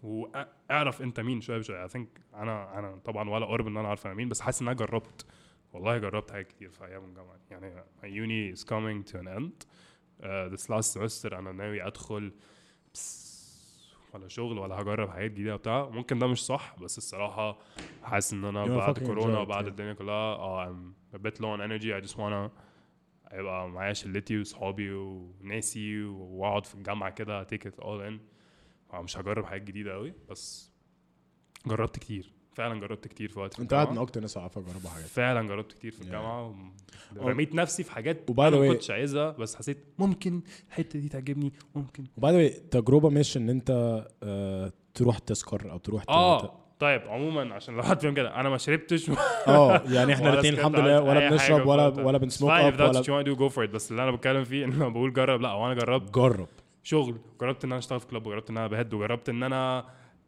واعرف انت مين شويه بشويه اي ثينك انا انا طبعا ولا قرب ان انا عارف انا مين بس حاسس ان انا جربت والله جربت حاجات كتير في ايام الجامعه يعني my uni is coming to an end uh, this last semester انا ناوي ادخل بس- ولا شغل ولا هجرب حاجات جديده وبتاع ممكن ده مش صح بس الصراحه حاسس ان انا
You wanna
بعد
fucking
كورونا
enjoy it,
وبعد
yeah.
الدنيا كلها اه I'm a bit low on energy I just wanna هيبقى معايا شلتي وصحابي وناسي واقعد في الجامعه كده تيك ات اول ان آه، مش هجرب حاجات جديده قوي بس جربت كتير فعلا جربت كتير في وقت
انت قاعد من اكتر ناس عارفه جربوا حاجات
فعلا جربت كتير في
Yeah.
الجامعه رميت نفسي في حاجات
وby the
انا ما
way-
كنتش عايزها بس حسيت ممكن الحته دي تعجبني ممكن
وبعد ما تجربه مش ان انت آه، تروح تسكر او تروح ت- ت-
اه طيب عموما عشان لو حد فاهم كده انا ما
*laughs*
شربتش
اه يعني احنا
*laughs* ولا
الاثنين
سكت
الحمد
عن
لله ولا
أي
بنشرب
حاجة
ولا
فاهم؟
ولا
It's
بنسموك
fine if
اب
that's
ولا
what you want to do, go for it. بس اللي انا بتكلم فيه ان لما بقول جرب لا هو انا جربت
جرب
شغل جربت ان انا اشتغل في كلوب وجربت ان انا بهد وجربت آه، ان انا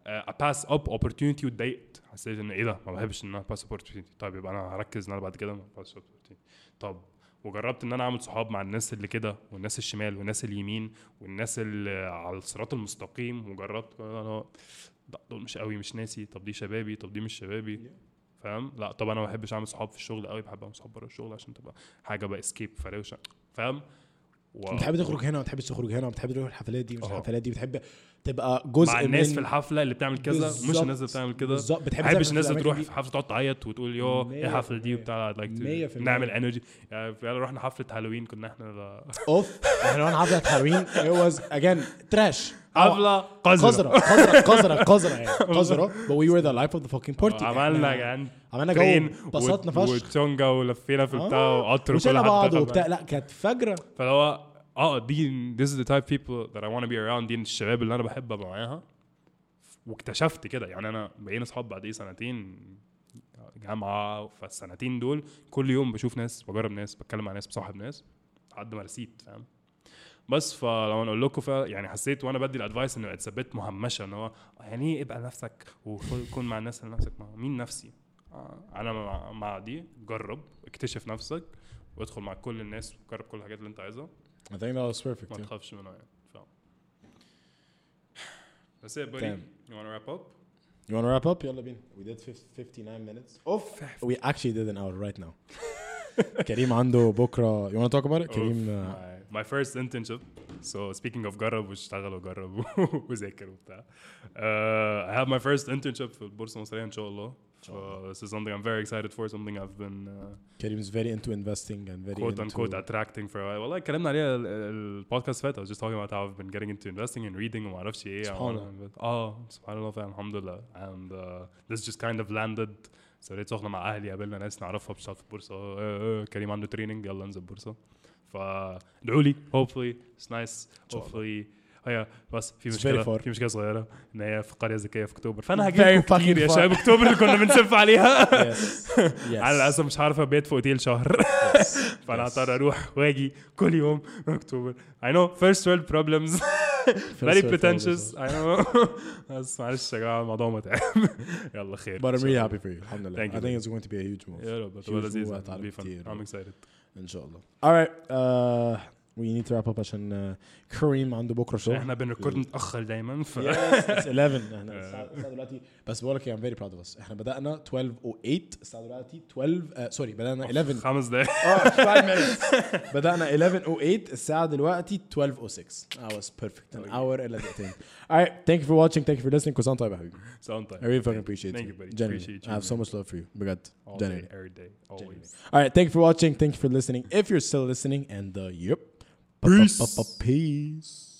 اباس اب اوبورتيونيتي واتضايقت حسيت ان ايه ده ما بحبش ان انا اباس اوبورتيونيتي طيب يبقى انا هركز ان انا بعد كده ما اباس اوبورتيونيتي طب وجربت ان انا اعمل صحاب مع الناس اللي كده والناس الشمال والناس اليمين والناس اللي على الصراط المستقيم وجربت انا لا، دول مش قوي مش ناسي طب دي شبابي طب دي مش شبابي فاهم لا طب انا ما بحبش اعمل صحاب في الشغل قوي بحب اعمل صحاب بره الشغل عشان تبقى حاجه بقى اسكيب فروشه فاهم و-
بتحب تخرج هنا وبتحب تخرج هنا وبتحب تروح الحفلات دي مش
اه.
الحفلات دي بتحب تبقى جزء
مع الناس
من
في الحفله اللي بتعمل كذا مش الناس اللي
بالظبط.
بتعمل كده
بالظبط بتحب
ما بحبش
تعمل
الناس اللي
الأماكن
تروح
دي.
في حفله تقعد تعيط وتقول يو ايه
مية
الحفله دي
في
وبتاع I'd like
مية
to
في
نعمل
المية.
انرجي يعني فعلا رحنا حفله هالوين كنا احنا
اوف احنا وانا عبد الحلوين it was again trash
حفله قذره
آه، قذرة قذرة قذرة قذرة
*laughs*
يعني قذرة but we were the life of the fucking party
عملنا يا
إحنا
جدعان
آه. عملنا جو
ترين
واتبسطنا
وت-
فشخ.
وتشونجا ولفينا في بتاع وقطر وكل
وشلنا
حد
بعض
دخل.
وبتاع لا كانت فجرة
فاللي هو اه دي this is the type of people that I want to be around دي الشباب اللي انا بحب ابقى معاها واكتشفت كده يعني انا بقينا اصحاب بعد ايه سنتين جامعه فالسنتين دول كل يوم بشوف ناس بجرب ناس بتكلم مع ناس بصاحب ناس لحد ما رسيت فاهم بس فلو اقول لكم فا- يعني حسيت وانا بدي الادفايس انه اتس بيت مهمشه ان هو يعني ايه ابقى نفسك وكون مع الناس اللي نفسك معاهم مين نفسي؟ آه، انا مع- مع دي جرب اكتشف نفسك وادخل مع كل الناس وجرب كل الحاجات اللي انت عايزها
I think that was perfect
ما
yeah.
تخافش منها يعني ف That's it buddy
Damn.
you wanna wrap up
you wanna wrap up يلا بينا we did 59 minutes
اوف
we actually did an hour right now *laughs* كريم عنده بكرة you wanna talk about it كريم آه،
my, my first internship so speaking of جرب واشتغل *laughs* وجرب وذاكر وبتاع uh, I have my first internship في البورصة المصرية إن شاء الله So this is something I'm very excited for something I've been uh,
كريم's very into investing and very
quote
into
unquote attracting for a while والله اتكلمنا عليها ال- ال- البودكاست فات uh, I was just talking about how I've been getting into investing and reading وما اعرفش ايه I
سبحان
wanna
الله.
invest. اه سبحان الله فعلا الحمد لله and uh, this just kind of landed سويت سخنة مع اهلي قابلنا ناس نعرفها بتشتغل في البورصة آه، آه، كريم عنده تريننج يلا انزل بورصة فادعوا لي hopefully it's nice
شاء الله.
hopefully Oh, هي بس في
It's very
مشكله
far.
في مشكله صغيره ان هي في قريه ذكيه في اكتوبر فانا
Very
هجيب
fucking
كتير يا
far.
شباب *laughs* اكتوبر اللي كنا بنسف عليها
*laughs*
*laughs*
يس
على الاسف مش عارف ابيت في اوتيل شهر *laughs* فانا هضطر اروح واجي كل يوم من اكتوبر I know first world problems *laughs* very pretentious I know *laughs* بس معلش يا جماعه الموضوع متعب *laughs* يلا خير
But I'm really happy for you. Alhamdulillah.
Thank you.
I think it's going to be a huge move.
يا رب
Huge
تبقى لذيذة
move هتعلم
be fun.
كتير.
I'm excited
Inshallah. All right. Uh, we need to wrap up عشان uh, Kareem عنده بكره شغل.
احنا بنريكورد متاخر دايما ف
Yes, it's *laughs* 11 احنا الساعة- الساعة دلوقتي بس بقول لك إيه، I'm very proud of us احنا بدأنا 12:08 الساعة دلوقتي 12 سوري
Oh,
بدأنا 11 *laughs*
خمس دقايق
اه 5 minutes بدأنا 11:08 الساعة دلوقتي 12:06 I was perfect an hour إلا دقيقتين. All right, thank you for watching, thank you for listening. كل سنة وأنت طيب يا حبيبي.
ساوند تايم
I really fucking appreciate
Thank
you.
you, buddy.
Genuinely.
Appreciate you,
I have so much love for you. بجد.
all day
Genuinely.
every day always
All right, thank you for watching. Thank you for listening. If you're still listening, and uh, yep.
Peace.
Peace.